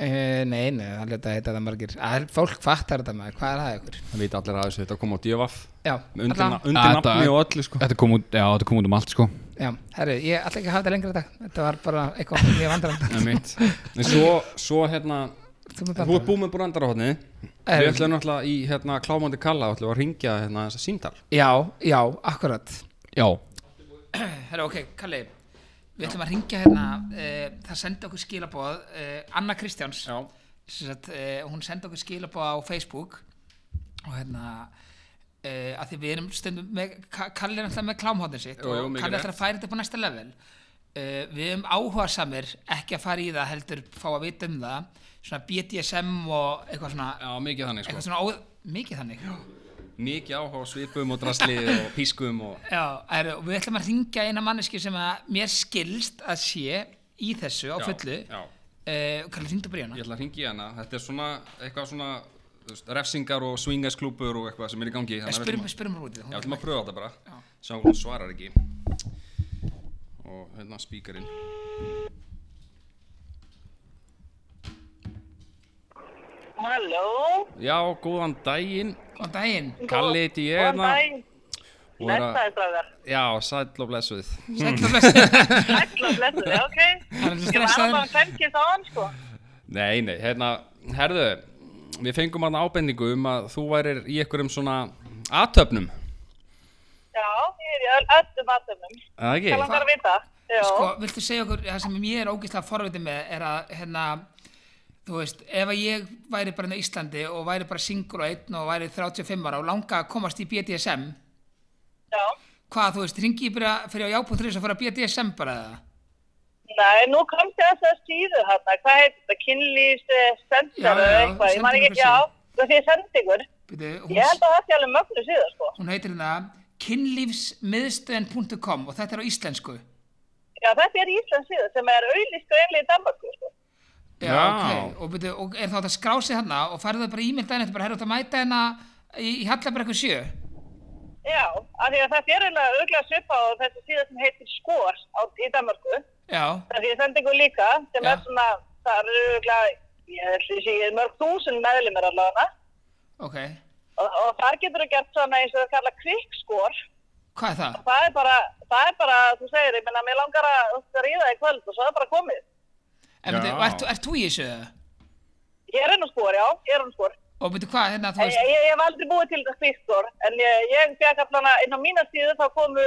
Speaker 2: Uh, nei, nei, það leta að heita það margir. Að, fólk fattar þetta maður, hvað er það ykkur?
Speaker 3: það veit allir að þessu þetta kom á divaf
Speaker 2: Já,
Speaker 3: undir,
Speaker 2: allan-
Speaker 3: na- undir
Speaker 4: Ah, þetta-
Speaker 3: nafni og öllu sko.
Speaker 4: Þetta kom út, já, þetta kom út um allt sko
Speaker 2: Já, herru, ég ætla ekki að hafa þetta lengra í dag Þetta var bara eitthvað mjög vandrarand
Speaker 3: Nei, mitt. en svo, svo hérna
Speaker 2: Þú með
Speaker 3: þú
Speaker 2: bara
Speaker 3: er búið með brandara
Speaker 2: Er-
Speaker 3: við ætlum náttúrulega í hérna, klámandi kalla ætlum við að ringja hérna, þessa símtal
Speaker 2: Já, já, akkurat
Speaker 4: Já,
Speaker 2: Herru, ok, Kalli Við ætlum að ringja hérna uh, Það sendi okkur skilaboð uh, Anna Kristjáns
Speaker 3: Já.
Speaker 2: Sett, uh, Hún sendi okkur skilaboð á Facebook Og hérna uh, að því við erum stundum með, Ka- Kalli er alltaf með klámhóttin sitt
Speaker 3: Jú, jú,
Speaker 2: Og
Speaker 3: mikið
Speaker 2: Kalli
Speaker 3: rétt.
Speaker 2: ætlar að færa þetta upp á næsta level Uh, við erum áhuga samir ekki að fara í það heldur fá að vita um það svona BDSM og eitthvað svona
Speaker 3: já, mikið þannig
Speaker 2: eitthvað svona óð, mikið þannig já,
Speaker 3: mikið áhuga á svipum og drasli og pískum og
Speaker 2: er, og við ætlum að ringja eina manneski sem að mér skilst að sé í þessu á
Speaker 3: Já,
Speaker 2: fullu
Speaker 3: já.
Speaker 2: uh, Kalli, ringdu bara í
Speaker 3: ég
Speaker 2: hana
Speaker 3: ætla að ringi hana þetta er svona eitthvað svona þú veist, refsingar og swingasklúpur og eitthvað sem er í gangi
Speaker 2: Eh,
Speaker 3: þannig að við
Speaker 2: spyrum,
Speaker 3: ætlum að-
Speaker 2: spyrum hún út í
Speaker 3: Já,
Speaker 2: það
Speaker 3: ætlum að pröfa þetta bara
Speaker 2: Já.
Speaker 3: sjá hún svarar ekki og hérna spíkarinn
Speaker 1: Halló,
Speaker 3: já, góðan daginn
Speaker 2: góðan daginn
Speaker 3: Kalli heiti ég
Speaker 1: góðan
Speaker 3: hérna
Speaker 1: daginn.
Speaker 3: og er að-
Speaker 1: Blessaði stráðar.
Speaker 3: já, sæll og blessuð
Speaker 2: Sæll og blessaður.
Speaker 1: Ætla blessaði, ok.
Speaker 2: Hann er svo
Speaker 1: Ég var
Speaker 2: stressaður.
Speaker 1: bara fengið á hann, sko.
Speaker 3: nei, nei, hérna, herðu við fengum hann ábendingu um að þú værir í einhverjum svona aðtöfnum
Speaker 1: Já, ég er í öll- öllum aðtöfnum.
Speaker 3: eða ekki?
Speaker 1: Hvað langar að vita? Já.
Speaker 2: sko, viltu segja okkur það sem ég er ógeðslega forvitið með er að hérna þú veist, ef að ég væri bara inn á Íslandi og væri bara single og einn og væri 35 ára og langa að komast í BDSM
Speaker 1: Já.
Speaker 2: hvað, þú veist, ringi ég bara fyrir á jábúnþrið og fara að BDSM bara eða?
Speaker 1: Nei, nú komst ég þess að síðu hérna. Hvað heitir þetta? Kynlýs,
Speaker 2: Já,
Speaker 1: sendar
Speaker 2: já,
Speaker 1: eða
Speaker 2: já,
Speaker 1: eitthvað. Ég man
Speaker 2: sendu
Speaker 1: ekki,
Speaker 2: okkur
Speaker 1: já.
Speaker 2: síðu.
Speaker 1: Það sé sendingur.
Speaker 2: Bíddu, hún,
Speaker 1: Ég held að það sé alveg mögnu síða, sko.
Speaker 2: hún heitir hérna kynlífsmiðstöðin.com og þetta er á íslensku
Speaker 1: Já, þetta er íslensk síða sem er auðlýst greinlega í Danmarku, sko.
Speaker 2: Já,
Speaker 3: Já.
Speaker 2: ok, og, byrju, og er þá þetta skrásið hérna og færðu það bara e-mail daginn eftir bara herra út að mæta hérna í, í Hallabrekku 7
Speaker 1: Já, af því að þetta er eiginlega auðvitað svipa á þessu síða sem heitir Skor á, í Danmarku.
Speaker 2: Já,
Speaker 1: Það er sendingu líka sem
Speaker 2: Já.
Speaker 1: er svona, það eru auðvitað, ég ætli að segja, mörg þúsund meðlumir allavega.
Speaker 2: ok
Speaker 1: Og, og þar getur þú gert svona eins og það kalla kvikkskor.
Speaker 2: Hvað er það?
Speaker 1: Það er bara, það er bara, þú segir, ég menna, mér langar að þú veist, að ríða í kvöld og svo er bara komið.
Speaker 2: En, byrju,
Speaker 3: Já.
Speaker 2: og ert, ert þú í þessu? eða?
Speaker 1: Ég er enn og skor, já, ég er enn og skor.
Speaker 2: og veitu hvað, hérna, þú
Speaker 1: Ég,
Speaker 2: veist
Speaker 1: ég, ég hef aldrei búið til skvíktor, en ég, ég fekk allan að inn á mína síðu þá komu,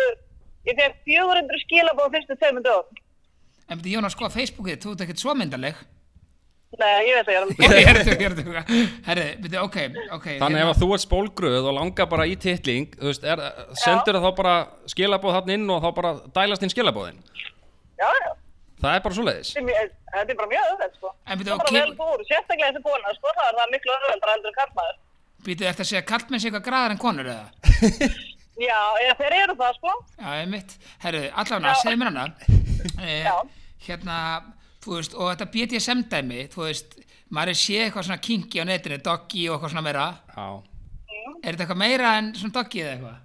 Speaker 1: ég fekk 400 skilabóð fyrstu tveimund dögum.
Speaker 2: en veitu Jónas, sko, Facebookið, þú ert ekkert svo myndarleg
Speaker 1: Nei, ég veit það, ég er alveg.
Speaker 2: ég er þetta, ég er þetta herri, veitu, ok, ok hérna.
Speaker 3: Þannig ef að þú ert spólgröð og langar bara í titling þú veist, er, sendur þá bara skilabóð þarna inn og þá bara dælast inn skilabóðin
Speaker 1: Já, já,
Speaker 3: Það er bara svo leiðis
Speaker 1: þetta er mjög- þetta er bara mjög öðvöld, sko.
Speaker 2: En byrju,
Speaker 1: það er bara
Speaker 2: ok.
Speaker 1: vel búið, sérstaklega þessi kona, sko, það er það miklu öðvöldar aldrei karlmaður.
Speaker 2: veitu, eftir að segja, kallt með sig eitthvað graðar en konur eða
Speaker 1: Já, ég, þeir eru það, sko.
Speaker 2: Já, einmitt. Herru, allavega,
Speaker 1: Já.
Speaker 2: segðu mér hana.
Speaker 1: Já.
Speaker 2: Hérna, þú veist, og þetta BDSM-dæmi, þú veist, maður er séð eitthvað svona kinky á netinu, doggy og eitthvað svona meira.
Speaker 3: Já,
Speaker 2: Er þetta eitthvað meira en svona doggy eða eitthvað?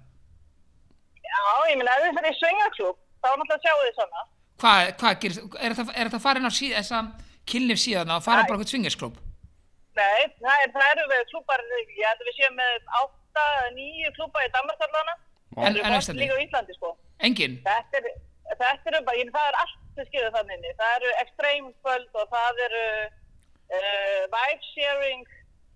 Speaker 1: Já, ég meina, ef þið fyrir í svingaklúb, þá náttúrulega sjáu þið svona.
Speaker 2: Hvað, hvað gerist, er þetta, er þetta farin á síð, þessa kynlif síðan og fara bara eitthvað svingasklub?
Speaker 1: Nei, það, er, það eru við klúpar, ég held að við séum með 8, 9 klúpa í Danmarkallana.
Speaker 3: En-
Speaker 1: En,
Speaker 2: en
Speaker 1: en,
Speaker 2: Íslandi?
Speaker 1: líka á Íslandi, sko.
Speaker 2: Engin?
Speaker 1: Þetta er, þetta eru bara, ég, það er allt sem skilur þannig inni. Það eru ekstremkvöld og það eru uh, vibe sharing,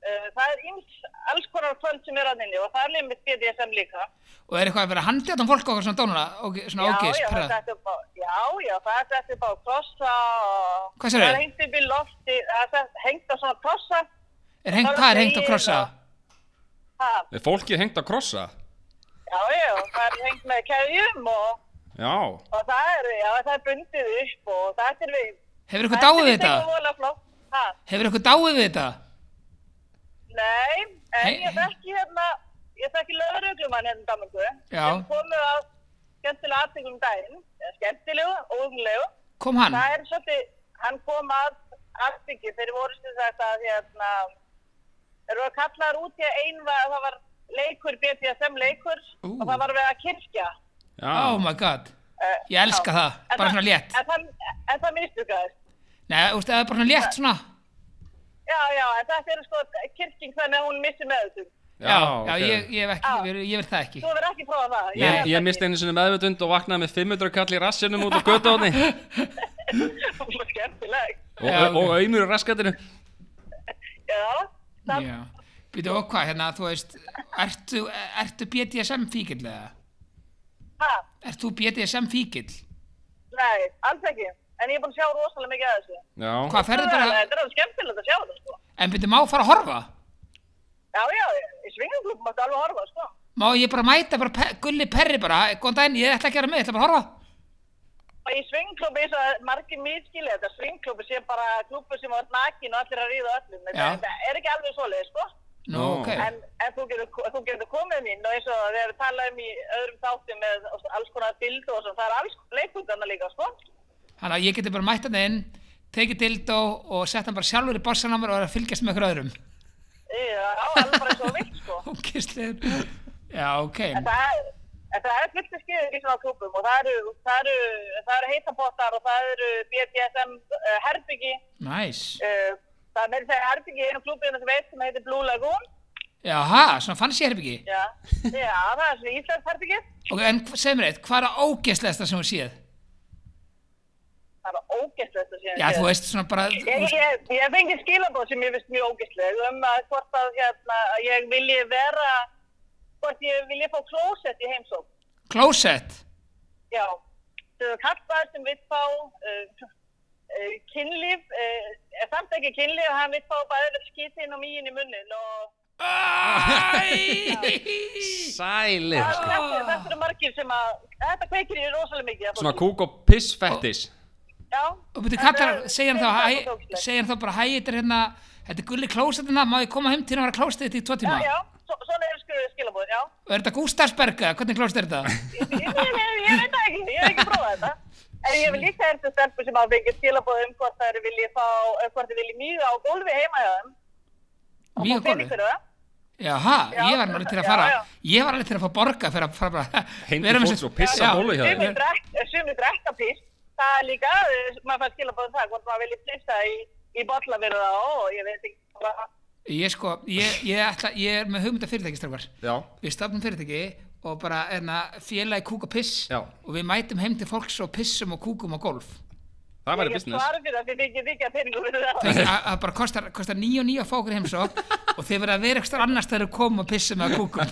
Speaker 1: uh, það er ýms, alls konar kvöld sem er þannig inni og það er limit BDSM líka.
Speaker 2: Og er eitthvað að vera handið um fólk og eitthvað svona dónuna, og, svona ógeist,
Speaker 1: já,
Speaker 2: pyrrað?
Speaker 1: þetta er bara, já, já, það er þetta bara krossa og...
Speaker 2: Hvað segirðu?
Speaker 1: Það er hengt upp í lofti, það er hengt á svona krossa.
Speaker 2: Er hengt,
Speaker 1: bara
Speaker 2: hvað er hengt að
Speaker 1: þegið
Speaker 2: krossa?
Speaker 1: og- Ha,
Speaker 3: er fólkið hengt að krossa?
Speaker 1: já, já, það er hengt með keðjum og,
Speaker 3: Já,
Speaker 1: og það er, já, það er bundið upp og það er við...
Speaker 2: Hefur eitthvað dáið við
Speaker 1: Það er
Speaker 2: þetta?
Speaker 1: ekki vola flott, ha?
Speaker 2: Hefur eitthvað dáið við þetta?
Speaker 1: Nei, en
Speaker 2: Nei.
Speaker 1: ég þekki hérna, ég þekki lögreglumann hérna í Danmarku.
Speaker 2: Já.
Speaker 1: Sem komið á skemmtilega aðtökum daginn, eða skemmtilegu og unglegu.
Speaker 2: Kom hann?
Speaker 1: Það er svolítið, hann kom að aðtöki, þeir voru sem sagt að hérna, þeir voru kallaðar út í að einn var, það var leikur, BDSM leikur,
Speaker 2: Ú.
Speaker 1: og það var við að kirkja.
Speaker 3: já
Speaker 2: Oh my god.
Speaker 1: Eh,
Speaker 2: Ég elska
Speaker 1: já.
Speaker 2: það,
Speaker 1: En
Speaker 2: bara svona létt.
Speaker 1: En það, en það mistukaðist.
Speaker 2: Nei, þú veist, það er bara svona létt svona.
Speaker 1: Já, já, en þetta er sko kirking þannig að hún missi með þessu.
Speaker 2: Já, já,
Speaker 3: ok.
Speaker 2: ég, ég, hef ekki,
Speaker 1: Já.
Speaker 2: ég, ég vil það ekki.
Speaker 1: Þú verður ekki prófað það.
Speaker 3: Ég, ég misti einu sinni meðvöndund og vaknaði með 500 kall í rassinum út á göttáðni
Speaker 1: Hún var skemmtileg.
Speaker 3: og,
Speaker 2: Já,
Speaker 3: og, og auðmur í raskatinu
Speaker 1: Já, það,
Speaker 2: Já. Býtu og hvað, hérna, þú veist, ertu, ertu BDSM fíkil eða?
Speaker 1: ha,
Speaker 2: Ert þú BDSM fíkil?
Speaker 1: nei, alls ekki. En ég er búin að sjá rosalega mikið að þessu.
Speaker 3: Já,
Speaker 2: Hvað ferðu
Speaker 1: Það
Speaker 2: bara,
Speaker 1: er alveg skemmtilegt að sjá þetta, sko.
Speaker 2: en býtu má fara að horfa?
Speaker 1: Já, já, í svingaglúkum máttu alveg horfa, sko.
Speaker 2: Má ég bara mæta bara pe gulli perri bara, góðan daginn, ég ætla ekki að vera með, ég ætla bara að horfa?
Speaker 1: Og í svingaglúkum er það margir miskilið. Þetta svingaglúkum sé bara glúkum sem var nakin og allir að ríða á öllum.
Speaker 2: Já.
Speaker 1: Þetta er ekki alveg svoleið, sko.
Speaker 2: Nú,
Speaker 3: Nú.
Speaker 2: ok.
Speaker 1: En, en þú, getur, þú getur komið mín og eins og við erum talað um í öðrum þáttum með alls konar dildo og svona. Það er alls leikundana líka, sko.
Speaker 2: Þannig að ég geti bara mætt hann inn, tekið dildó og sett hann bara sjálfur í borsan á mér og er að fylgjast með ykkur öðrum.
Speaker 1: Já, alveg bara svo vilt, sko.
Speaker 2: Ógeðslegur. Já, ok.
Speaker 1: En það er- en það er fullt skýður í svona klubum og það eru, það eru, það eru heitapottar og það eru BDSM uh, herbyggi.
Speaker 2: Nice.
Speaker 1: Uh, það er með þess að herbyggi í einu klubinu sem veit sem heitir Blue Lagoon.
Speaker 2: Jaha, svona fanns ég herbyggi.
Speaker 1: Já, já það er svona íslensk herbyggi.
Speaker 2: Ok, en hv- segð mér eitt, hvað er að ógeðslegasta sem þú séð?
Speaker 1: Það er bara ógeðslegt að um sé.
Speaker 2: Já, þú veist svona bara, þú
Speaker 1: Ég,
Speaker 2: veist,
Speaker 1: ég, ég fengi skilabóð sem ég finnst mjög ógeðsleg um að hvort að hérna, að ég vilji vera, hvort ég vilji fá klósett í heimsókn.
Speaker 2: klósett.
Speaker 1: Já, þau eru kallar sem vill fá uh, uh, kynlíf, uh, er samt ekki kynlíf, hann vill fá bara skýti inn á míin í munnin og
Speaker 2: Æ!
Speaker 3: sælir
Speaker 1: það-
Speaker 3: sko.
Speaker 1: þetta þetta eru margir sem að, þetta kveikir í rosalega mikið. af
Speaker 3: Svona
Speaker 1: fólki.
Speaker 3: kúk og piss fettis
Speaker 1: Já.
Speaker 2: Og byrju,
Speaker 1: Þetta
Speaker 2: kallar,
Speaker 1: er-
Speaker 2: segja hann
Speaker 1: þetta er
Speaker 2: þá, hæ-
Speaker 1: ógeðslegt.
Speaker 2: segja hann þá bara, hæ, þetta er hérna, þetta er gulli klósettina, má ég koma heim til þín og vera klósett þetta í tvo
Speaker 1: Já,
Speaker 2: tíma?
Speaker 1: já, svo, svona er skur, skilabóð, já.
Speaker 2: Og er þetta Gústafsberga, hvernig klósett er þetta?
Speaker 1: Ég, ég, ég, ég veit það ekki, ég hef ekki prófað þetta. En ég vil líka þessu stelpu sem að fengið skilabóð um hvort þær vilji fá, eh, hvort þær vilji mýga á gólfi heima hjá þeim. Og
Speaker 2: Mjög
Speaker 1: fá pening
Speaker 2: góður.
Speaker 1: fyrir það.
Speaker 2: Jaha,
Speaker 1: Já,
Speaker 2: ég var alveg til að
Speaker 1: já,
Speaker 2: fara,
Speaker 1: já.
Speaker 2: ég var alveg til að fá borga fyrir að fara bara,
Speaker 3: Hendi
Speaker 2: vera með
Speaker 3: fólks
Speaker 2: sér-
Speaker 3: og pissa
Speaker 2: Já,
Speaker 3: bólu hjá þeim.
Speaker 1: Sumir drekk- sumir drekka piss, það er líka, eh, maður fær skilabóð um það, hvort maður vilji pissa í, í bollaverða og ég veit ekki hvað.
Speaker 2: Ég sko, ég, ég, ætla, ég er með hugmynda fyrirtækistrákar.
Speaker 3: Já,
Speaker 2: við stopnum fyrirtæki og bara erna, félagi kúk og piss
Speaker 3: Já.
Speaker 2: og við mætum heim til fólks og pissum og kúkum og golf
Speaker 3: Það væri
Speaker 1: Ég get
Speaker 3: business
Speaker 1: svarið fyrir það, þið þykir þykja peningur fyrir það.
Speaker 2: Það það bara kostar, kostar níu og níu að fá okkur heimsó og þið verða að vera ekstra annars þegar þau komum og pissum með kúkum.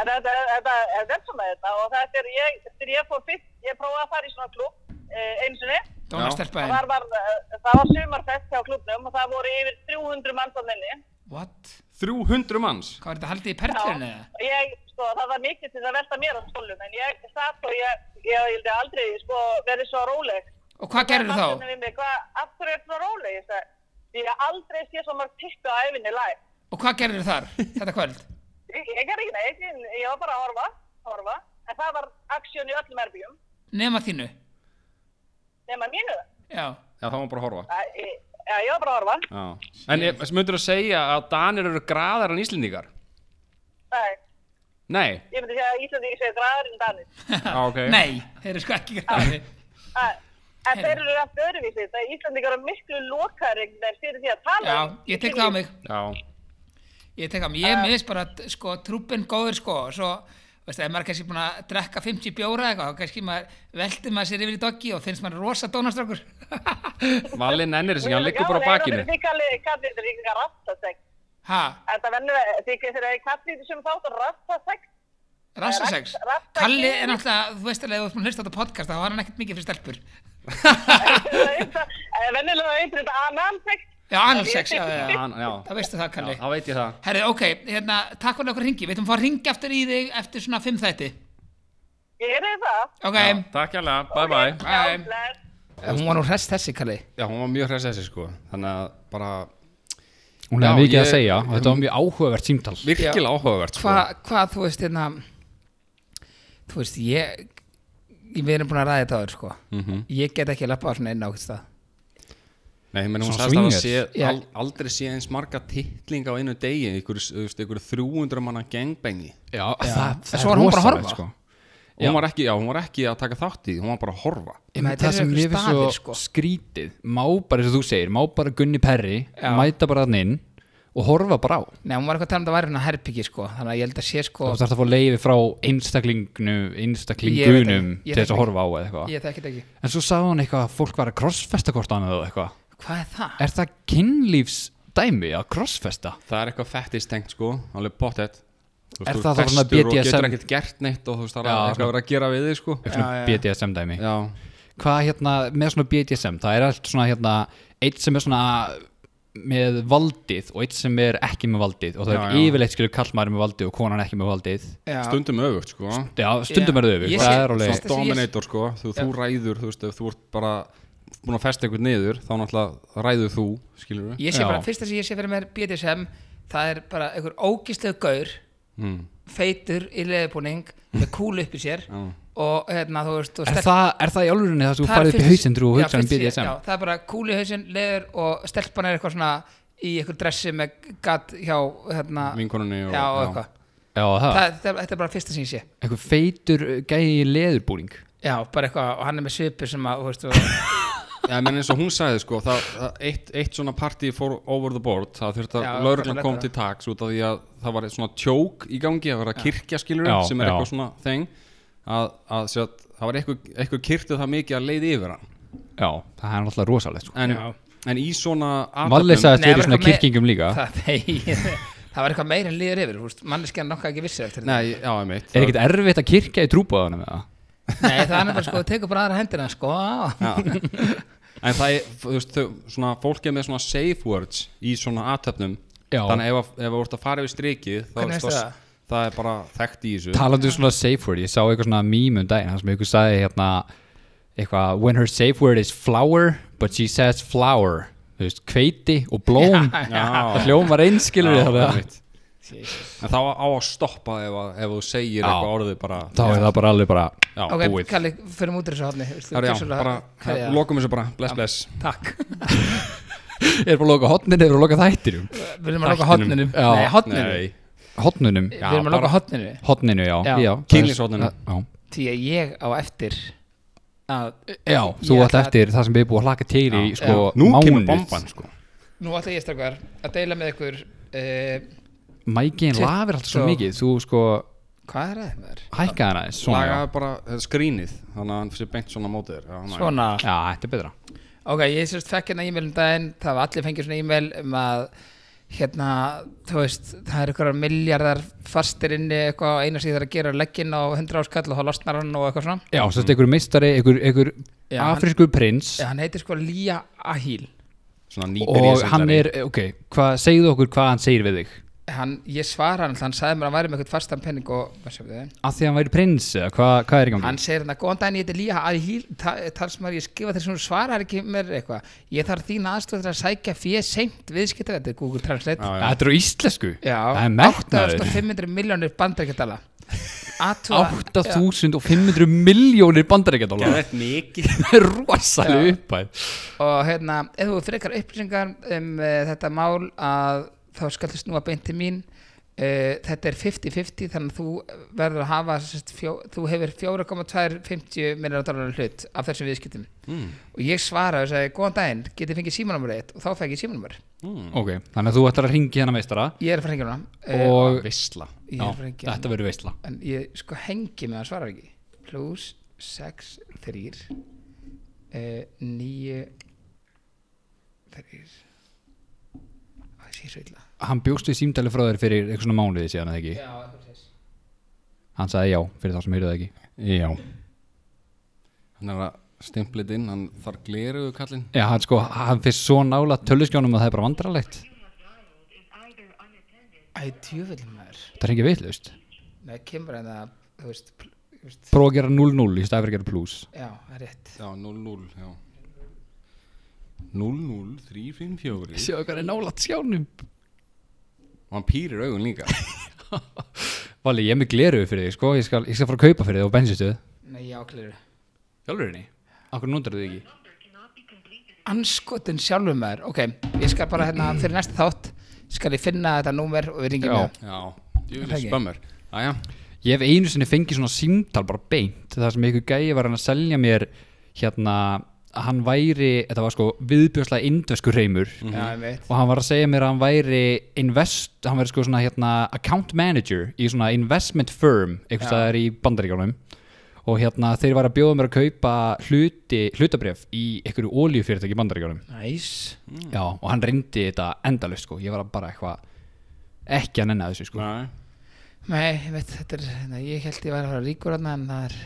Speaker 1: En þetta, þetta, þetta er svona þetta og þetta er ég, þegar ég fór fyrst, ég prófaði að fara í svona klúb eh, einu sinni.
Speaker 2: Dóna
Speaker 3: Já.
Speaker 1: Það
Speaker 2: stelpaðin.
Speaker 1: var, var, eh, það var sumarfest hjá klúbnum og það voru yfir 300 manns á minni.
Speaker 2: What?
Speaker 3: 300 manns
Speaker 2: Hvað er þetta haldið í perlurinn eða?
Speaker 1: Og ég, sko, það var mikið til að velta mér á stólum en ég satt og ég, ég vildi aldrei, sko, verið svo róleg.
Speaker 2: Og hvað gerðu
Speaker 1: Það
Speaker 2: þá?
Speaker 1: var við mig, hvað, af hverju er svona róleg? Ég sagði, því ég hef aldrei sé svo mörg tippu á æfinni læg.
Speaker 2: Og hvað gerðu þar þetta kvöld?
Speaker 1: Ég, ég er ekki neitt, ég, ég var bara að horfa, horfa, en það var aksjón í öllum erbjum,
Speaker 2: Nema þínu?
Speaker 1: nema mínu.
Speaker 2: Já.
Speaker 3: Já, það var bara að horfa
Speaker 1: Æ, ég- Já, ég var bara að horfa.
Speaker 3: Já. En myndur þú að segja að Danir eru graðar en Íslendingar?
Speaker 1: Nei,
Speaker 3: Nei,
Speaker 1: ég myndi segja að Íslandi ég segja græður en danir.
Speaker 3: ah, ok
Speaker 2: Nei, þeir eru sko ekki græði.
Speaker 1: Æ, En þeir eru allt öðruvísi, það er Íslandingar eru miklu lokar einhvern veginn fyrir því að tala.
Speaker 2: Já,
Speaker 1: um-
Speaker 2: ég tek það á mig.
Speaker 3: Já,
Speaker 2: Ég tek á mig. Ég miðist bara, sko, trúpin góður, sko, og svo, veist, ef maður er kannski búin að drekka 50 bjóra eða eitthvað, þá kannski maður veldur maður sér yfir í doggi og finnst maður rosa dónastrákur.
Speaker 3: Valli nennir þessi, ekki, hann liggur bara á
Speaker 1: Já,
Speaker 3: bakinu
Speaker 1: en það er kallið þetta líka rastasex.
Speaker 2: ha,
Speaker 1: Þetta vennur því þeir eru kallið þetta sem þátt rastasex.
Speaker 2: rassasex.
Speaker 1: Rass- rassasex.
Speaker 2: Kalli er náttúrulega, þú veist alveg, ef þú ert búin að hlusta á þetta podcast, þá var hann ekkert mikið fyrir stelpur.
Speaker 1: Vennilega eitthvað þetta analsex.
Speaker 2: Já, analsex, já, já,
Speaker 3: Já,
Speaker 2: já.
Speaker 3: hann- já,
Speaker 2: Það veistu það,
Speaker 3: já,
Speaker 2: Kalli.
Speaker 3: þá veit ég það
Speaker 2: Herri, ok, hérna, takk fyrir okkur ringi. Við ætlum að fá að ringi aftur í þig eftir svona fimm þætti.
Speaker 1: Ég er það.
Speaker 2: Ok,
Speaker 3: Já, Takk hérlega, bye bye
Speaker 2: Bye.
Speaker 1: Já, bless.
Speaker 2: Eh, hún var nú hress þessi, Kalli.
Speaker 3: Já, hún var mjög hress þessi sko Þannig að bara
Speaker 4: Hún
Speaker 3: Já,
Speaker 4: hefði mikið að
Speaker 3: ég-
Speaker 4: segja og þetta var mjög áhugavert símtal
Speaker 3: virkilega áhugavert sko
Speaker 2: Hva, hvað, þú veist, hérna, þú veist, ég, ég við erum búin að ræða þetta áður, sko. Ég get ekki að lappa á svona inn á okkur stað.
Speaker 3: Nei, menn hún sagðist
Speaker 4: Svona
Speaker 3: að það
Speaker 4: swingers.
Speaker 3: sé
Speaker 2: Já.
Speaker 3: al, aldrei sé eins marga titlinga á einu degi ykkur, ykkur, ykkur 300 manna gangbangi
Speaker 4: Já, það, það
Speaker 2: Svo
Speaker 4: er
Speaker 2: var hún bara að
Speaker 4: rosalegt,
Speaker 2: horfa.
Speaker 4: sko.
Speaker 3: og hún var, ekki, já, hún var ekki að taka þátt í því, hún var bara að horfa
Speaker 2: Ég meina,
Speaker 4: Einmitt,
Speaker 2: þetta
Speaker 4: Það
Speaker 2: eru
Speaker 4: sem
Speaker 2: einhverjir
Speaker 4: mér finnst svo
Speaker 2: staðir, sko.
Speaker 4: skrítið Má bara, eins og þú segir, má bara Gunni Perri Mæta bara þannig inn og horfa bara á
Speaker 2: Nei, hún var eitthvað að tala um að það væri hérna herbyggi, sko. Þannig að ég held að sé, sko,
Speaker 4: Þá þarf það að fá leiði frá einstaklingu,
Speaker 2: Ég veit
Speaker 4: einstaklingunum
Speaker 2: ekki, ég veit
Speaker 4: til þess að
Speaker 2: ekki.
Speaker 4: horfa á eða eitthvað
Speaker 2: ég þekki þetta ekki.
Speaker 4: En svo sagði hún eitthvað að fólk var að crossfesta hvort annað og eitthvað
Speaker 2: Hvað er það?
Speaker 4: Er það kynlífs dæmi að crossfesta?
Speaker 3: það er eitthvað fettistengt sko, alveg pottet Þú
Speaker 4: Er
Speaker 3: veist, þú
Speaker 4: það þá
Speaker 3: festur
Speaker 4: svona
Speaker 3: og
Speaker 4: BDSM?
Speaker 3: getur ekkert gert neitt og þú veist það er
Speaker 4: Já,
Speaker 3: eitthvað
Speaker 4: svona-
Speaker 3: að vera að gera við þig sko
Speaker 4: Eitthvað svona BDSM dæmi
Speaker 3: já,
Speaker 4: Hvað hérna, með svona BDSM, það er allt svona hérna Eitt sem er svona með valdið og eitt sem er ekki með valdið og það
Speaker 3: Já,
Speaker 4: er
Speaker 3: já.
Speaker 4: yfirleitt skilur kallmaður með valdið og konan ekki með valdið
Speaker 2: Já.
Speaker 3: stundum öfugt sko
Speaker 4: Já,
Speaker 2: Já.
Speaker 4: stundum er þau yfir,
Speaker 2: Ég
Speaker 4: það
Speaker 2: sé-
Speaker 4: er alveg
Speaker 2: Fyrsta
Speaker 3: svona
Speaker 2: sem ég-
Speaker 3: dominator sko, þú, þú ræður þú veist, ef þú ert bara búin að festa eitthvað niður, þá náttúrulega ræður þú skilur við,
Speaker 2: Ég sé
Speaker 4: Já.
Speaker 2: bara, fyrsta sem ég sé fyrir mér BDSM, það er bara einhver ógislega gaur,
Speaker 3: mm.
Speaker 2: feitur í leðubúning, með kúlu upp í sér
Speaker 3: Já.
Speaker 2: og hérna, þú veist, og
Speaker 4: Er það, er það í alvörinni það sem þú
Speaker 2: Það er
Speaker 4: farið upp í
Speaker 2: fyrst-
Speaker 4: hausinn þú
Speaker 2: já,
Speaker 4: hugsa um
Speaker 2: fyrst sé-
Speaker 4: BDSM?
Speaker 2: já, það er bara kúli hausinn, leður og stelpan er eitthvað svona í eitthvað dressi með gatt hjá hérna,
Speaker 3: vinkonunni og,
Speaker 2: já, og eitthvað
Speaker 4: Já, það,
Speaker 2: Það- það- þetta er bara fyrsta sem ég sé
Speaker 4: einhver feitur uh, gæi í leðurbúning
Speaker 2: já, bara eitthvað, og hann er með svipur sem að þú veist, og,
Speaker 3: Já, menn eins og hún sagði sko, það, það, eitt, eitt svona partí fór over the board, það
Speaker 2: Já,
Speaker 3: þurfti að
Speaker 2: það
Speaker 3: lauruglan
Speaker 2: var
Speaker 3: kom
Speaker 2: lettara.
Speaker 3: til taks út af því að það var svona tjók í gangi að vera kirkja skilur,
Speaker 4: Já,
Speaker 3: sem er
Speaker 4: já.
Speaker 3: eitthvað svona þeng að, að sér, það var eitthvað, eitthvað kirkja það mikið að leiði yfir hann
Speaker 4: Já, það er náttúrulega rosalegt sko.
Speaker 3: en,
Speaker 2: Já.
Speaker 3: en í svona
Speaker 4: Valli
Speaker 3: athöfnum-
Speaker 4: sagðist
Speaker 2: Nei,
Speaker 4: verið
Speaker 2: það var
Speaker 4: svona
Speaker 2: eitthvað með-
Speaker 4: kirkingum líka
Speaker 2: það, nei, það var eitthvað meira en líður yfir þú veist, manneskjan nokkað ekki vissi eftir þetta
Speaker 3: Nei, já, ég meitt
Speaker 4: Er ekkert erfitt að kirkja í trúbáðunum eða?
Speaker 2: nei, það er bara sko, tekur bara aðra hendina sko, á.
Speaker 3: En það er, þú veist, þau, svona, fólk er með svona safe words í svona aðtöfnum
Speaker 4: Já.
Speaker 3: Þannig ef, að- ef þú ert að fara yfir strikið þá,
Speaker 2: Hvernig veistu
Speaker 3: það,
Speaker 2: það?
Speaker 3: það er bara þekkt í þessu
Speaker 4: Talandi um svona safe word, ég sá eitthvað svona meme um daginn þar sem einhver sagði hérna eitthvað, when her safe word is flower but she says flower þú veist, hveiti og blóm það
Speaker 3: Já,
Speaker 4: hljómar einskilur
Speaker 3: Já,
Speaker 4: við það
Speaker 3: einmitt. En þá á að stoppa ef, að, ef þú segir
Speaker 4: Já.
Speaker 3: eitthvað orðið bara
Speaker 4: þá er það bara alveg bara
Speaker 3: Já,
Speaker 2: ok,
Speaker 3: búið
Speaker 2: Kalli, fyrir mútur þessu hátni
Speaker 3: Það er já, bara, lokum þessu bara, bless, bless
Speaker 2: takk
Speaker 4: er bara að loka hotninu, er bara að loka þættinum
Speaker 2: við erum að loka hotninu
Speaker 4: Já.
Speaker 2: nei, hotninu,
Speaker 3: Nei,
Speaker 4: hotnunum,
Speaker 2: við erum að loka hotninu
Speaker 4: hotninu, já,
Speaker 2: Já.
Speaker 4: já. já
Speaker 3: Kynlífshorninu.
Speaker 4: já.
Speaker 2: því að ég á eftir að
Speaker 4: já, þú
Speaker 2: Ég
Speaker 4: átt
Speaker 2: ætla að-
Speaker 4: eftir það sem við erum búið að hlaka til í sko,
Speaker 3: nú kemur
Speaker 4: mánuð.
Speaker 3: bomban sko
Speaker 2: nú ætla ég strákar að deila með ykkur uh,
Speaker 4: Mækin
Speaker 2: Shit,
Speaker 4: lafir alltaf svo
Speaker 2: já.
Speaker 4: mikið þú sko,
Speaker 2: Hvað er það þér?
Speaker 4: hækkaði hann aðeins svona,
Speaker 3: Lagaði
Speaker 4: já.
Speaker 3: bara þetta skrínið Þannig að hann fyrir beint svona á móti þér Já, næ.
Speaker 2: Svona
Speaker 4: já, þetta er betra
Speaker 2: Ok, ég sérst fekk hérna e-mail um daginn Það var allir fengið svona e-mail um að Hérna, þú veist Það er eitthvað miljardar fastir inni Eitthvað á eina síðar að gera legginn á 100 áskall Og þá losnar hann og eitthvað svona
Speaker 4: já, sem þetta einhver meistari, einhver, einhver
Speaker 2: Já, hann-
Speaker 4: afrískur prins
Speaker 2: Já, hann heitir sko Lía Ahil
Speaker 3: Svona nýbyrja
Speaker 4: og hann er, ok, hvað, segðu okkur hvað hann segir við þig
Speaker 2: hann, Ég svara hann, hann sagði mér að hann væri með eitthvað fastan penning og Hvað sem þið?
Speaker 4: að því að hann væri prins, eða hvað, hvað er í gangi
Speaker 2: Hann segir hérna, góðan daginn, ég heiti Lía Ahil Þar sem að ég skrifa þessum svarar ekki mér eitthvað Ég þarf þín aðstoð til að sækja fyrir seint viðskipta Þetta er Google Translate
Speaker 3: Já,
Speaker 4: Já, þetta er á íslensku,
Speaker 2: Já,
Speaker 4: það er metnaður
Speaker 2: 8500 miljónir bandaríkjadala
Speaker 4: 8500 miljónir bandaríkjadólar
Speaker 3: Gæðið mikið
Speaker 4: rosalega uppæð
Speaker 2: og hérna, ef þú frekar upplýsingar um uh, þetta mál að þá skal þess nú að beint til mín uh, þetta er 50-50 þannig að þú verður að hafa sest, fjó, þú hefur 4,250 miljonar dólarar hlut af þessum viðskiptum mm. og ég svaraði og sagði, góðan daginn, getið fengið símanumur eitt og þá fæk ég símanumur
Speaker 4: ok, þannig að þú ætlar að ringi hennar meistara
Speaker 2: ég er að fara að hengja hana uh,
Speaker 4: og
Speaker 3: Vissla
Speaker 2: ég
Speaker 4: Eh,
Speaker 2: er
Speaker 4: já,
Speaker 2: að fara að hengja
Speaker 4: þetta verður veistla
Speaker 2: en ég sko hengi með að svara ekki plus 6, 3 uh, 9 3 það sé svo illa
Speaker 4: hann bjóst við símdæli frá þér fyrir eitthvað svona mánuði síðan eða ekki
Speaker 2: já,
Speaker 4: hann sagði já, fyrir þá sem heyrðu það ekki
Speaker 3: Já Hann er að stimpla þetta inn Hann þarf gleruðu kallinn
Speaker 4: já, hann sko, hann fyrst svo nála töluskjónum að það er bara vandralegt
Speaker 2: æ, djúvillin maður
Speaker 4: það ringi vitlaust
Speaker 2: neða, kemur en það, þú veist, pl- þú veist
Speaker 4: prófa að gera 0-0 í staðið fyrir að gera plus
Speaker 2: já, það er rétt
Speaker 3: Já, 0-0 Já 0-0-3-5-4
Speaker 4: sjá hvað er nála skjónum
Speaker 3: Og hann pýrir augun líka
Speaker 4: vali, ég er með gleru fyrir þig sko ég skal, ég skal fara að kaupa fyrir þig á bensinstöðu
Speaker 2: nei, já, kliru
Speaker 4: hjálfurinni, okkur núndur þig ekki
Speaker 2: anskotin sjálfur maður, ok ég skal bara hérna, fyrir næsta þátt skal ég finna þetta númer og við ringjum
Speaker 4: Já.
Speaker 2: með það.
Speaker 3: Já
Speaker 2: Það
Speaker 3: Djúvilis
Speaker 2: ekki.
Speaker 3: spömmur Æja
Speaker 4: Ég hef einu sinni fengið svona símtal bara beint þar sem einhver gæi var hann að selja mér hérna að hann væri, þetta var sko viðbjörslega indvesku reymur
Speaker 2: já, ég veit
Speaker 4: og hann var að segja mér að hann væri invest, hann væri sko svona hérna account manager í svona investment firm einhvers staðar í bandaríkjónum og hérna þeir var að bjóða mér að kaupa hluti, hlutabref í einhverju oljufyrirtæki í bandaríkjónum
Speaker 2: næs,
Speaker 4: Já, og hann reyndi þetta endalaust sko, ég var bara eitthvað ekki að nenna þessu sko
Speaker 3: Nei
Speaker 2: nei, ég veit þetta er, hérna, ég held ég væri að fara ríkur hérna en það er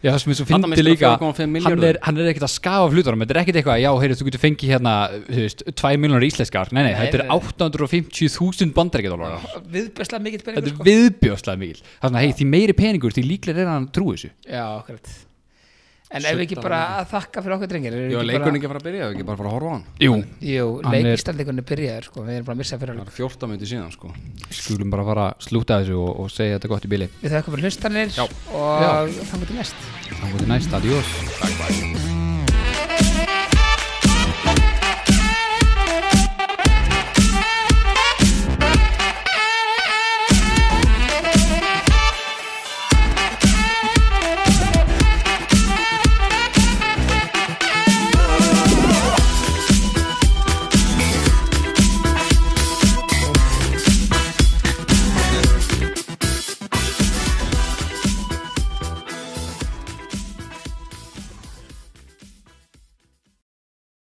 Speaker 4: Já, það sem er svo
Speaker 3: Þarna
Speaker 4: fyndi
Speaker 3: mistur
Speaker 4: líka
Speaker 3: þú 4,5
Speaker 4: hann
Speaker 3: milljarða.
Speaker 4: er, hann er ekkert að skafa af hlutunum Þetta er ekkert eitthvað, já, heyrðu, þú getur fengið hérna þú veist, 2 miljonar íslenskar Nei, nei,
Speaker 2: Nei,
Speaker 4: þetta er
Speaker 2: nei, nei.
Speaker 4: 850.000 bandaríkjadólar
Speaker 2: viðbjörslega mikill
Speaker 4: Þetta
Speaker 2: peningur sko.
Speaker 4: er viðbjóðslega mikil Það er svona, hei, því meiri peningur, því líklega er hann að trú þessu
Speaker 2: Já, akkurat En ef við ekki bara að þakka fyrir okkur drengir erum við
Speaker 3: Ég var
Speaker 2: ekki bara-
Speaker 3: leikurinn ekki að fara að byrja Ég ekki bara að fara að horfa á hann
Speaker 4: Jú,
Speaker 2: Jú,
Speaker 4: Hann er-
Speaker 2: leikistandleikunni byrjaður sko Við erum bara að missa fyrir
Speaker 3: Það
Speaker 2: alveg
Speaker 3: er 14 minnti síðan sko
Speaker 4: skulum bara fara að slúta þessu og, og segja þetta gott í bili
Speaker 2: Við þakka fyrir hlustanir
Speaker 3: Já.
Speaker 2: Og þannig til næst
Speaker 4: Það er næst, adiós
Speaker 3: Takk bæði